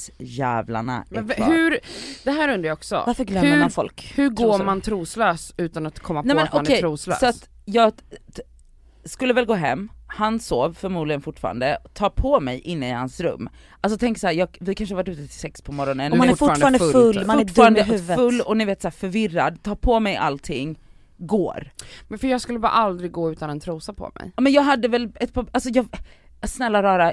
C: trosjävlarna är
B: Men v-
C: kvar.
B: hur, det här undrar jag också.
D: Varför glömmer
B: hur,
D: man folk?
B: Hur går
D: Trosor.
B: man troslös utan att komma
C: Nej
B: på
C: men
B: att man är
C: okej,
B: troslös?
C: så att jag t- t- skulle väl gå hem, han sov förmodligen fortfarande, ta på mig inne i hans rum. Alltså tänk såhär, jag- vi kanske varit ute till sex på morgonen,
D: Och man är
B: fortfarande
D: fortfarande
B: full,
D: full,
B: typ.
D: man är dum i
C: fortfarande
D: huvudet.
C: full och ni vet såhär förvirrad, ta på mig allting, går.
B: Men för jag skulle bara aldrig gå utan en trosa på mig.
C: Ja, Men jag hade väl ett par, alltså jag, snälla rara,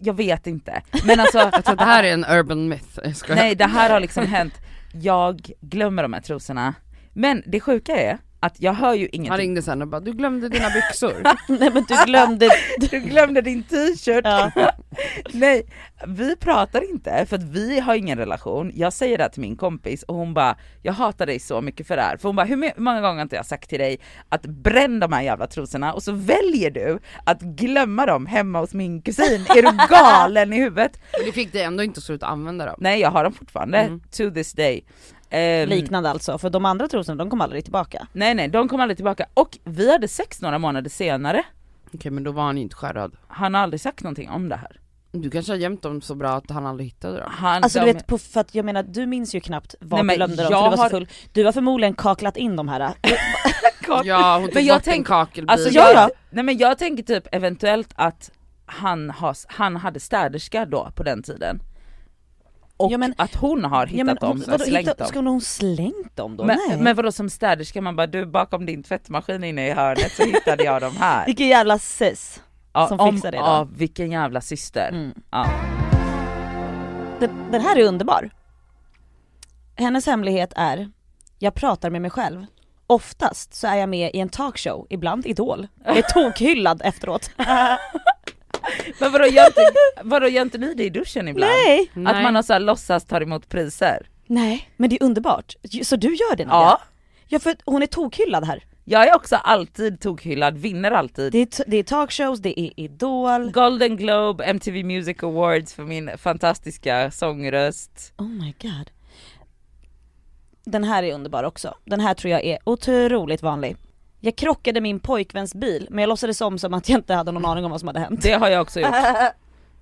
C: jag vet inte. Men alltså,
B: Så det här är en urban myth, jag skojar.
C: nej det här har liksom hänt, jag glömmer de här trosorna. Men det sjuka är att jag hör ju
B: Han
C: ingenting.
B: ringde sen och bara du glömde dina byxor.
D: Nej men du glömde...
C: Du glömde din t-shirt.
D: Ja.
C: Nej, vi pratar inte för att vi har ingen relation. Jag säger det här till min kompis och hon bara, jag hatar dig så mycket för det här. För hon bara, hur me- många gånger har inte jag sagt till dig att bränn de här jävla trosorna och så väljer du att glömma dem hemma hos min kusin. Är du galen i huvudet?
B: Men det fick dig ändå inte sluta använda dem.
C: Nej jag har dem fortfarande,
B: Mm.
C: to this day. Ehm,
D: Liknande alltså, för de andra trosorna de kom aldrig tillbaka.
C: nej nej, de kom aldrig tillbaka. Och vi hade sex några månader senare.
B: Okej men då var han ju inte skärrad.
C: Han har aldrig sagt någonting om det här.
B: Du kanske har gömt dem så bra att han aldrig hittade dem.
C: Han,
D: Alltså
C: de-
D: du vet, på, för att jag menar du minns ju knappt
C: Nej,
D: vad
C: men
D: du glömde dem
C: jag
D: för du var
C: har-
D: så full. Du har förmodligen kaklat in de här.
B: Ja hon tog
C: Men jag
B: bort en
C: tänk-
B: kakelbit.
C: Alltså
D: Ja,
C: jag,
D: ja.
C: Nej men jag tänker typ eventuellt att han, har, han hade städerska då på den tiden. Och
D: Ja, men-
C: att hon har hittat dem,
D: vadå,
C: slängt
D: hitta-
C: dem.
D: Ska hon slängt dem då? Nej.
C: Men, men vadå som städerska, man bara du bakom din tvättmaskin inne i hörnet så hittade jag dem här.
D: Vilken jävla sis.
C: Ja,
D: som
C: om-
D: fixar det då.
C: Ja vilken jävla syster.
D: Mm.
C: Ja.
D: Den, den här är underbar. Hennes hemlighet är, jag pratar med mig själv. Oftast så är jag med i en talkshow, ibland Idol. Jag är tokhyllad efteråt.
C: Men vadå gör, inte, vadå gör inte ni det i duschen ibland?
D: Nej!
B: Nej.
C: Att man har så här, låtsas tar emot priser?
D: Nej, men det är underbart. Så du gör det Nadja?
C: Ja.
D: Ja för att hon är tokhyllad här.
C: Jag är också alltid tokhyllad, vinner alltid.
D: Det är, t- det är talkshows, det är Idol.
C: Golden Globe, MTV Music Awards för min fantastiska sångröst.
D: Oh my god. Den här är underbar också. Den här tror jag är otroligt vanlig. Jag krockade min pojkväns bil men jag låtsades om som att jag inte hade någon aning om vad som hade hänt.
C: Det har jag också gjort.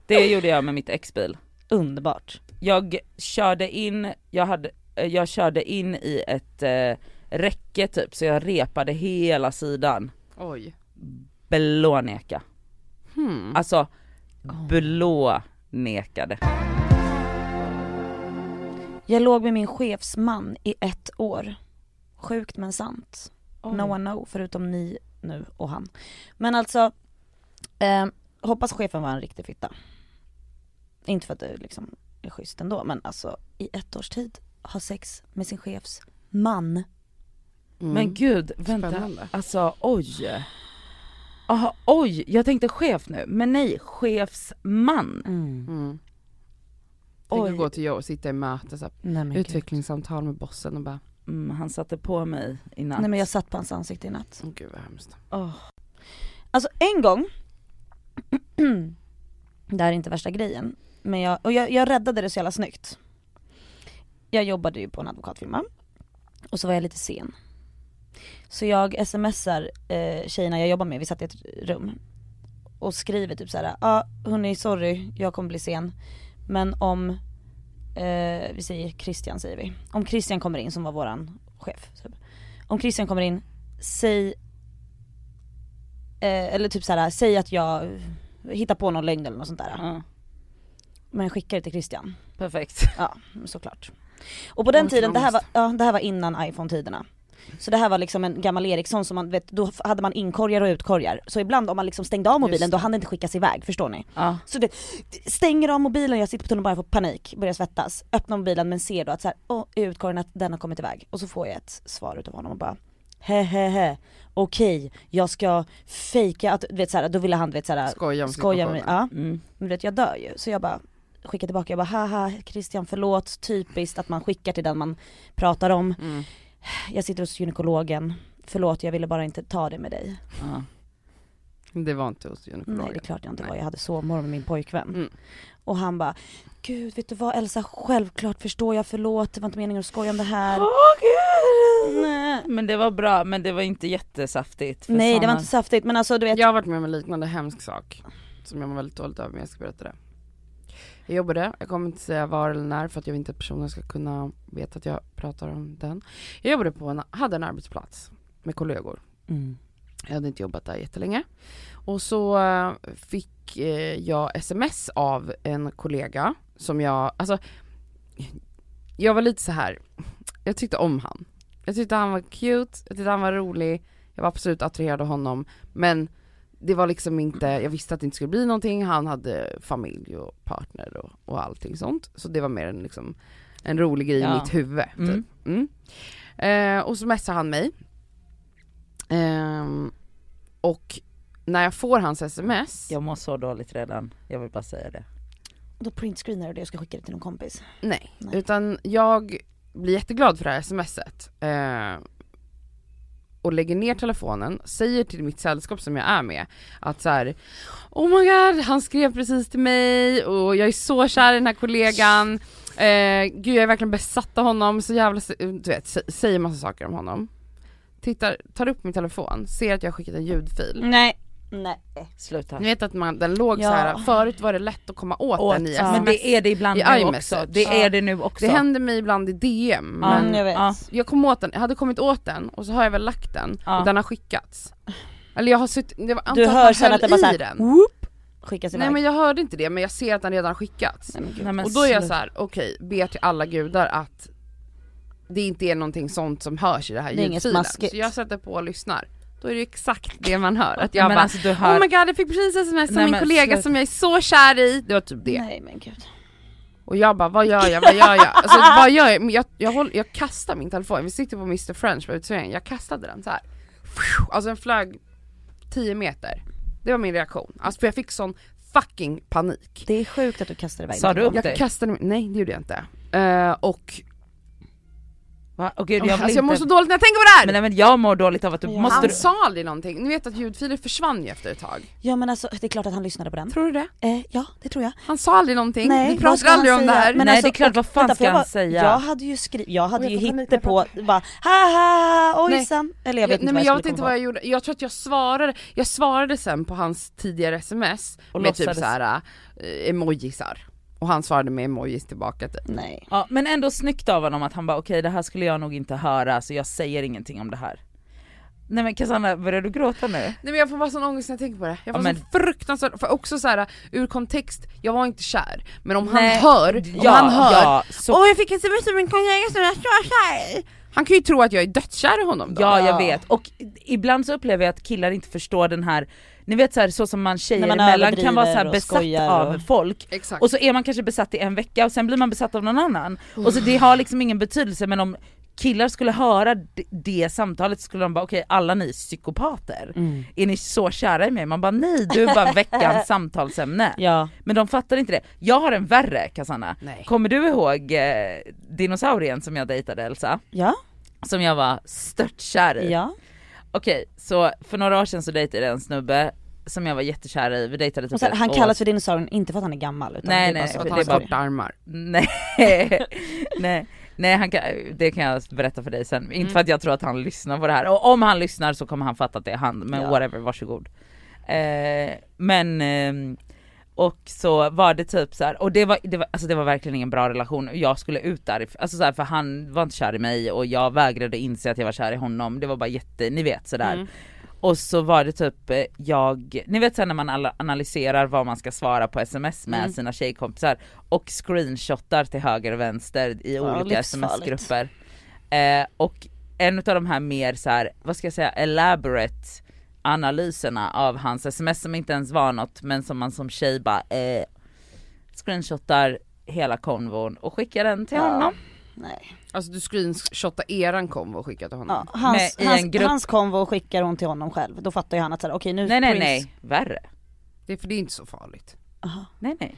C: Det gjorde jag med mitt exbil.
D: Underbart.
C: Jag körde in, jag, hade, eh, jag körde in i ett eh, räcke typ så jag repade hela sidan.
B: Oj.
C: Blåneka.
B: Hmm.
C: Alltså blånekade.
D: Jag låg med min chefsman i ett år. Sjukt men sant. No one know förutom ni nu och han. Men alltså, eh, hoppas chefen var en riktig fitta. Inte för att det liksom är schysst ändå men alltså i ett års tid ha sex med sin chefs man.
B: Mm.
C: Men gud, vänta.
B: Spännande.
C: Alltså oj. Aha, oj, jag tänkte chef nu, men nej, chefsman.
B: Mm. Tänk
C: Oj,
B: att gå till jobb och sitta i möte, så här,
D: Nej, men gud.
B: utvecklingssamtal med bossen och bara,
C: mm, han satte på mig i natt.
D: Nej men jag satt på hans ansikte i natt.
B: åh gud vad hemskt.
C: Åh.
D: Alltså en gång, det här är inte värsta grejen, men jag, och jag, jag räddade det så jävla snyggt. Jag jobbade ju på en advokatfirma och så var jag lite sen. Så jag smsar eh, tjejerna jag jobbar med, vi satt i ett rum och skriver typ såhär, ja ah, hörni sorry jag kommer bli sen men om, eh, vi säger Christian säger vi, om Christian kommer in som var våran chef. Typ. Om Christian kommer in, säg Eh, eller typ såhär, säg att jag hittar på någon lögn eller något sånt där.
C: Ja,
D: Men skicka det till Christian.
C: perfekt.
D: Ja, såklart. Och på den
B: Åh,
D: tiden, det här, var,
B: ekonomiskt.
D: ja, det här var innan iPhone-tiderna. Så det här var liksom en gammal Ericsson som man vet, då hade man inkorgar och utkorgar. Så ibland om man liksom stängde av mobilen
B: Just
D: då hann det inte skickas iväg, förstår ni?
C: Ja.
D: Så det, stänger av mobilen, jag sitter på tunnelbanan bara får panik, börjar svettas. Öppnar mobilen men ser då att så här, åh, i utkorgen att den har kommit iväg. Och så får jag ett svar utav honom och bara hehehe, okej jag ska fejka att, du vet såhär, då ville han du vet såhär
B: Skoja om
D: skoja med mig.
B: situationen.
D: Ja.
C: Mm.
D: Men du vet jag dör ju, så jag bara skickar tillbaka, jag bara haha Christian förlåt, typiskt att man skickar till den man pratar om.
B: Mm.
D: Jag sitter hos gynekologen, förlåt jag ville bara inte ta det med dig.
C: Ja.
B: Det var inte hos Jennifer
D: Nej det är
B: Rogen.
D: klart jag inte
B: Nej.
D: var, jag hade sovmorgon med min pojkvän.
B: Mm.
D: Och han bara, gud vet du vad Elsa, självklart förstår jag, förlåt, det var inte meningen att skoja om det här.
C: Åh gud!
D: Nej.
C: Men det var bra, men det var inte jättesaftigt. för
D: Nej det
C: såna-
D: var inte saftigt men alltså du vet,
B: Jag har varit med om en liknande hemsk sak som jag mår väldigt dåligt över men jag ska berätta det. Jag jobbade, jag kommer inte säga var eller när för att jag vill inte att personen ska kunna veta att jag pratar om den. Jag jobbade på en, hade en arbetsplats med kollegor.
D: Mm.
B: Jag hade inte jobbat där jättelänge. Och så eh, fick eh, jag sms av en kollega som jag, alltså jag var lite så här. jag tyckte om han. Jag tyckte han var cute, jag tyckte han var rolig, jag var absolut attraherad av honom men det var liksom inte, jag visste att det inte skulle bli någonting, han hade familj och partner och, och allting sånt. Så det var mer en, liksom, en rolig grej i
C: Ja.
B: mitt huvud. Typ.
C: Mm.
B: Mm. Eh, och så messar han mig. Ehm, och när jag får hans sms,
C: Jag mår så dåligt redan, jag vill bara säga det.
D: då printscreenar du det och ska skicka det till någon kompis.
B: nej,
D: Nej.
B: utan jag blir jätteglad för det här smset. Eh, och lägger ner telefonen, säger till mitt sällskap som jag är med att så här, Oh my god, han skrev precis till mig och jag är så kär i den här kollegan. Eh, gud jag är verkligen besatt av honom, så jävla, du vet, sä- säger massa saker om honom. Tittar, tar upp min telefon, ser att jag har skickat en ljudfil.
C: Mm.
D: Nej. Nej.
C: Sluta.
B: Ni vet att man, den låg
D: Ja.
B: så här. förut var det lätt att komma åt, den i
C: ja.
B: sms.
C: Men det är det ibland
B: I
C: nu
B: iMessage.
C: också. Det
D: Ja.
C: är det nu också.
B: Det händer mig ibland i DM
C: Ja.
B: men
D: Mm, jag vet.
C: ja.
B: jag, kom åt den, jag hade kommit åt den och så har jag väl lagt den
C: Ja.
B: och den har skickats. Eller jag har suttit, jag antar
D: Du
B: att
D: hör
B: man
D: sen
B: höll
D: att det bara
B: i
D: såhär,
B: den.
D: whoop, skickas iväg.
B: Nej men jag hörde inte det men jag ser att den redan har skickats.
D: Nej, men gud.
C: Nej, men
B: och då är jag
C: slu-
B: så här: okej, ber till alla gudar att det inte är någonting sånt som hörs i det här
D: Det är inget
B: ljudfilen. Så
D: smaskigt.
B: jag sätter på och lyssnar. Då är det ju exakt det man hör, att
C: Nej,
B: jag
C: men
B: bara
C: alltså, du hör...
B: Oh my god jag fick precis sms av
C: Nej,
B: min
C: men
B: kollega
C: sluta.
B: som jag är så kär i, det var typ det.
D: Nej men gud.
B: Och jag bara, vad gör jag, vad gör jag? Alltså vad gör jag? Men Jag, jag, håller, jag kastar min telefon, vi sitter på Mr French på uteserveringen, jag kastade den så här. Alltså den flög 10 meter. Det var min reaktion. Alltså för jag fick sån fucking panik.
D: Det är sjukt att du kastar iväg
C: Sa
D: den.
C: du upp
B: Jag
C: dig?
B: kastade min, nej det gjorde jag inte. Eh, och
C: Va? Åh, gud, jag
B: jag,
C: vill
B: alltså,
C: inte...
B: jag mår så dåligt när jag tänker på det
C: men,
B: här!
C: nej, men jag mår dåligt av att du...
D: Ja.
C: Måste
B: Han
C: du...
B: sa aldrig någonting, ni vet att ljudfiler försvann ju efter ett tag.
D: Ja men alltså det är klart att han lyssnade på den.
B: Tror du det?
D: Eh, ja det tror jag.
B: Han sa aldrig någonting,
D: Nej,
B: vi
D: vad ska
B: pratade
D: han
B: aldrig om det
D: säga?
B: här.
D: Men
C: Nej
D: alltså,
C: det är klart, vad fan
D: Vänta, för
C: ska
D: jag
C: han
D: var-
C: säga?
D: Jag hade ju skrivit, jag hade
B: Och
D: ju
B: jag får panik
D: hittat på, bara ha ha ha, ojsan. Eller jag vet
B: nej,
D: inte
B: men jag
D: vad
B: vet inte
D: jag skulle
B: vad
D: komma
B: jag gjorde, jag tror att jag svarade, jag svarade sen på hans tidigare sms
C: Och
B: med typ
C: låtsades.
B: såhär eh, emojisar. Och han svarade med emojis tillbaka typ.
D: på. Nej.
C: Ja, men ändå snyggt av honom att han bara okej det här skulle jag nog inte höra så jag säger ingenting om det här. Nej men Cassandra, börjar du gråta nu?
B: Nej men jag får bara sån ångest när jag tänker på det. Jag får
C: Ja, men-
B: sån fruktansvärd, för också såhär ur kontext, jag var inte kär. Men om
C: Nej.
B: han hör, om
C: Ja,
B: han hör,
C: ja, så-
B: åh jag fick ett sms av min kollega som jag är så kär i." Han kan ju tro att jag är dödskär i honom då.
C: Ja
D: Ja.
C: jag vet, och ibland så upplever jag att killar inte förstår den här, ni vet så, här, så som man tjejer
D: När man
C: emellan kan vara så
D: överdriver
C: här
D: och
C: besatt
D: skojar
C: av
D: och-
C: folk
B: Exakt.
C: och så är man kanske besatt i en vecka och sen blir man besatt av någon annan. Och så det har liksom ingen betydelse men om killar skulle höra d- det samtalet så skulle de bara okej alla ni är psykopater, är ni så kära i mig? Man bara nej du är bara veckans samtalsämne.
D: Ja.
C: Men de fattar inte det. Jag har en värre Cassandra.
B: Nej.
C: Kommer du ihåg eh, dinosaurien som jag dejtade Elsa?
D: Ja.
C: Som jag var störtkär i.
D: Ja.
C: Okej, så för några år sedan så dejtade jag en snubbe som jag var jättekär i. Vi dejtade typ
D: Och sen,
C: ett
D: han
C: år.
D: kallas för dinosaurien inte för att han är gammal utan
C: Nej,
D: det
C: nej,
D: är bara så.
B: för att
C: det
B: han har
C: är bara-
B: korta armar.
C: Nej, nej, nej han kan, det kan jag berätta för dig sen.
D: Mm.
C: Inte för att jag tror att han lyssnar på det här. Och om han lyssnar så kommer han fatta att det är han, men
D: Ja.
C: whatever, varsågod. Eh, men, ehm, och så var det typ så här, och det var, det, var, alltså det var verkligen ingen bra relation. Jag skulle ut där, alltså så här, för han var inte kär i mig och jag vägrade inse att jag var kär i honom. Det var bara jätte, ni vet sådär.
D: Mm.
C: Och så var det typ eh, jag, ni vet sen när man alla- analyserar vad man ska svara på sms
D: Mm.
C: med sina tjejkompisar och screenshotar till höger och vänster i
D: Ja,
C: olika
D: livsfarligt.
C: sms-grupper. Eh, och en av de här mer så här, vad ska jag säga, elaborate analyserna av hans sms som inte ens var något men som man som tjej bara eh, screenshotar hela konvon och skickar den till
D: Ja.
C: honom.
D: Nej.
B: Alltså du screenshotade eran konvo och skickade till honom.
D: Ja, hans,
C: i en
D: hans,
C: grupp.
D: hans konvo skickar hon till honom själv, då fattar ju han att såhär, okej nu
C: Nej nej
D: Prince-
C: nej, värre.
B: Det är för det är inte så farligt.
D: Aha.
C: Nej nej.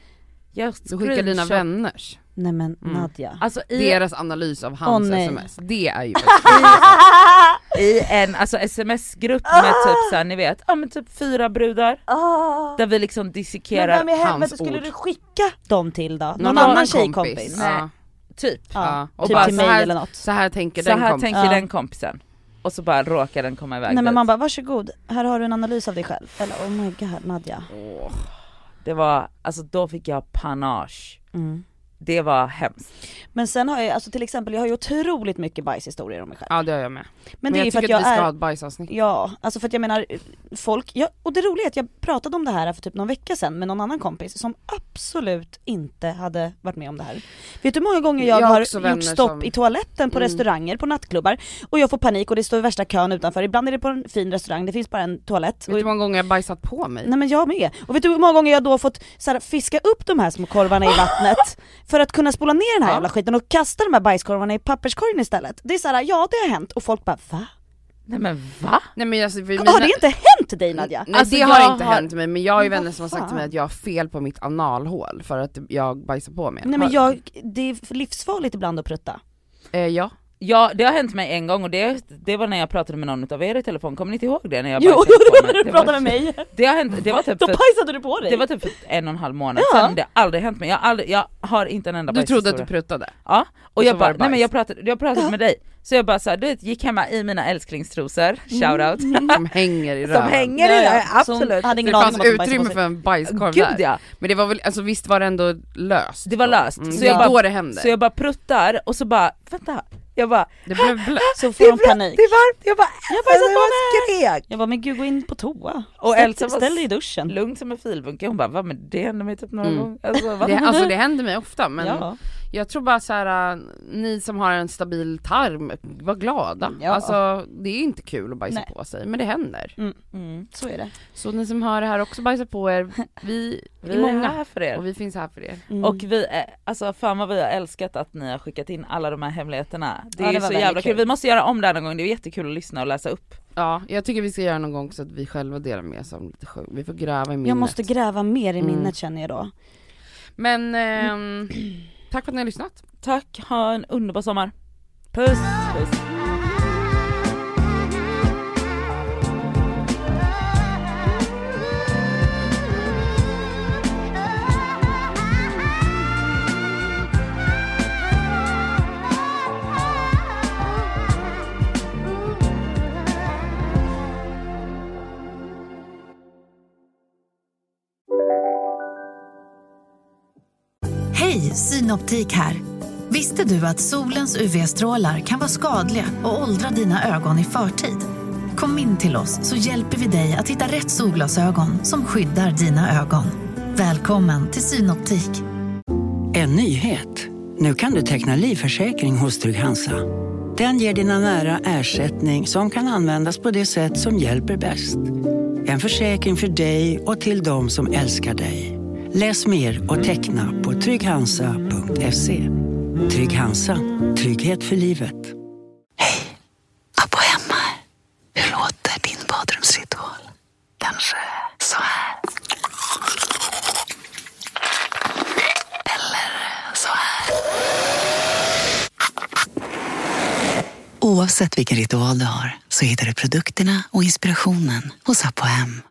C: Jag
B: Du skickar dina
C: screenshot-
B: vänners.
D: Nej men
B: Mm.
D: Nadja.
C: Alltså i
B: deras analys av hans
D: Åh, nej. Ah!
B: sms. Det är ju
C: i en alltså, sms-grupp med typ såhär, ni vet, ja men typ fyra brudar.
D: Ah.
C: Där vi liksom
D: Men
C: dissekerar
D: vem i helvete
B: hans
D: skulle
B: ord.
D: du skicka dem till då? Någon,
C: annan
D: annan tjejkompis?
B: Ja.
C: typ.
D: Ja,
B: Och
D: typ
B: bara
D: till
B: så
D: mig
B: här-
D: eller något.
B: Så här tänker
C: Så
B: den
C: här
B: kompisen.
C: tänker
D: Ja.
C: den kompisen. Och så bara råkar den komma iväg
D: Nej men
C: dit.
D: man bara varsågod, här har du en analys av dig själv. Eller oh my god Nadja.
C: Åh, Det var, alltså då fick jag panage.
B: Mm.
C: Det var hemskt.
D: Men sen har jag, alltså till exempel jag har ju otroligt mycket bajshistorier om mig själv.
B: Ja det gör jag med.
D: Men, det är
B: jag
D: ju för
B: tycker
D: att jag
B: vi ska
D: är
B: ha ett bajsavsnitt.
D: Ja, alltså för att jag menar folk, ja, och det roliga är att jag pratade om det här för typ någon vecka sedan med någon annan kompis som absolut inte hade varit med om det här. Vet du hur många gånger jag,
B: Jag har också
D: har
B: vänner
D: gjort stopp
B: som-
D: i toaletten på
B: Mm.
D: restauranger, på nattklubbar och jag får panik och det står värsta kön utanför. Ibland är det på en fin restaurang, det finns bara en toalett.
B: Vet du hur
D: Och,
B: många gånger jag har bajsat på mig?
D: nej men jag med. Och vet du hur många gånger jag då har fått så här, fiska upp de här små korvarna i vattnet för att kunna spola ner den här
B: Ja.
D: jävla skiten och kasta de här bajskorvarna i papperskorgen istället. Det är så här, ja det har hänt och folk bara va?
C: Nej men va?
B: Nej men alltså, för
D: Har det inte hänt dig Nadja?
B: Nej
C: Alltså,
B: det
C: jag
B: har inte
C: har-
B: hänt mig men jag har ju
D: Men
B: vänner
D: vad
B: som har sagt till
D: fan?
B: mig att jag har fel på mitt analhål för att jag bajsar på mig.
C: mm.
D: Nej men jag, det är livsfarligt ibland att prutta.
B: Eh, ja.
C: Ja det har hänt mig en gång och det, det var när jag pratade med någon utav er i telefon, kommer ni inte ihåg det? När jag bajsade på mig? det var,
D: mig.
C: Det har hänt, det var typ
D: Då
C: för,
D: pajsade du på dig.
C: det var typ för en och en halv månad
D: Ja.
C: sedan, det har aldrig hänt mig. Jag, har aldrig, jag har inte en enda
B: Du trodde att du
C: bajshistoria.
B: pruttade?
C: Ja, och
B: Och
C: jag
B: så var
C: bara,
B: det bajs.
C: nej men jag pratade, jag pratade med dig, så jag bara så här, du vet, gick hemma i mina älsklingstrosor, shoutout,
B: Mm. Som hänger i röven?
C: som hänger i
D: Ja, ja.
C: det,
D: Så hon
C: absolut.
D: hade
B: Det
D: ingen aning
B: fanns
D: om att hon bajsade på
B: utrymme
D: sig.
B: för en bajskorv
C: Gud
B: där.
C: ja!
B: Men det var väl, alltså visst var det ändå löst?
C: Det var
B: då?
C: löst,
B: Mm.
C: så
B: Så
C: jag bara
B: då det hände.
C: Så jag bara pruttar och så bara, vänta, jag bara
B: Det blev blött.
D: Så får
C: det är
D: de
C: varmt,
D: panik.
C: det är varmt, jag bara
D: Jag
C: alltså,
D: bajsade
C: jag
D: på
C: bara
D: mig.
C: skrek!
D: Jag bara men gud gå in på toa.
C: Och
D: ställ,
C: Elsa var
D: ställ dig i duschen.
C: Lugn som en filbunke, hon bara va men det hände mig typ några
B: Mm.
C: gånger. Alltså, va?
B: Det, alltså det händer mig ofta men
D: Ja.
B: jag tror bara så här: äh, ni som har en stabil tarm, var glada.
D: Ja.
B: Alltså det är inte kul att bajsa
D: Nej.
B: på sig men det händer.
C: Mm.
D: Så är det.
B: Så ni som hör det här också bajsa på er, vi,
C: Vi
B: är
C: är
B: många
C: här för er.
B: och vi finns här för er.
D: Mm.
C: Och vi, är- alltså fan vad vi har älskat att ni har skickat in alla de här hemligheterna. Det
D: Ja,
C: är
D: det
C: ju
D: var
C: så
D: väldigt
C: jävla kul.
D: kul.
C: Vi måste göra om det här någon gång, det är jättekul att lyssna och läsa upp.
B: Ja, jag tycker vi ska göra någon gång så att vi själva delar med oss av lite sjukt. Vi får gräva i minnet.
D: jag måste gräva mer i
B: Mm.
D: minnet känner jag då.
B: Men ehm, tack för att ni har lyssnat.
C: Tack, ha en underbar sommar. Puss! Puss.
E: Hej, Synoptik här. Visste du att solens UV-strålar kan vara skadliga och åldra dina ögon i förtid? Kom in till oss så hjälper vi dig att hitta rätt solglasögon som skyddar dina ögon. Välkommen till Synoptik.
F: En nyhet. Nu kan du teckna livförsäkring hos Trygg-Hansa. Den ger dina nära ersättning som kan användas på det sätt som hjälper bäst. En försäkring för dig och till de som älskar dig. Läs mer och teckna på trygghansa.se. Trygg-Hansa. Trygghet för livet.
G: Abba hemma. Hur låter din badrumsritual? Kanske så här. Eller så här. Oavsett vilken ritual du har så hittar du produkterna och inspirationen hos Apohem.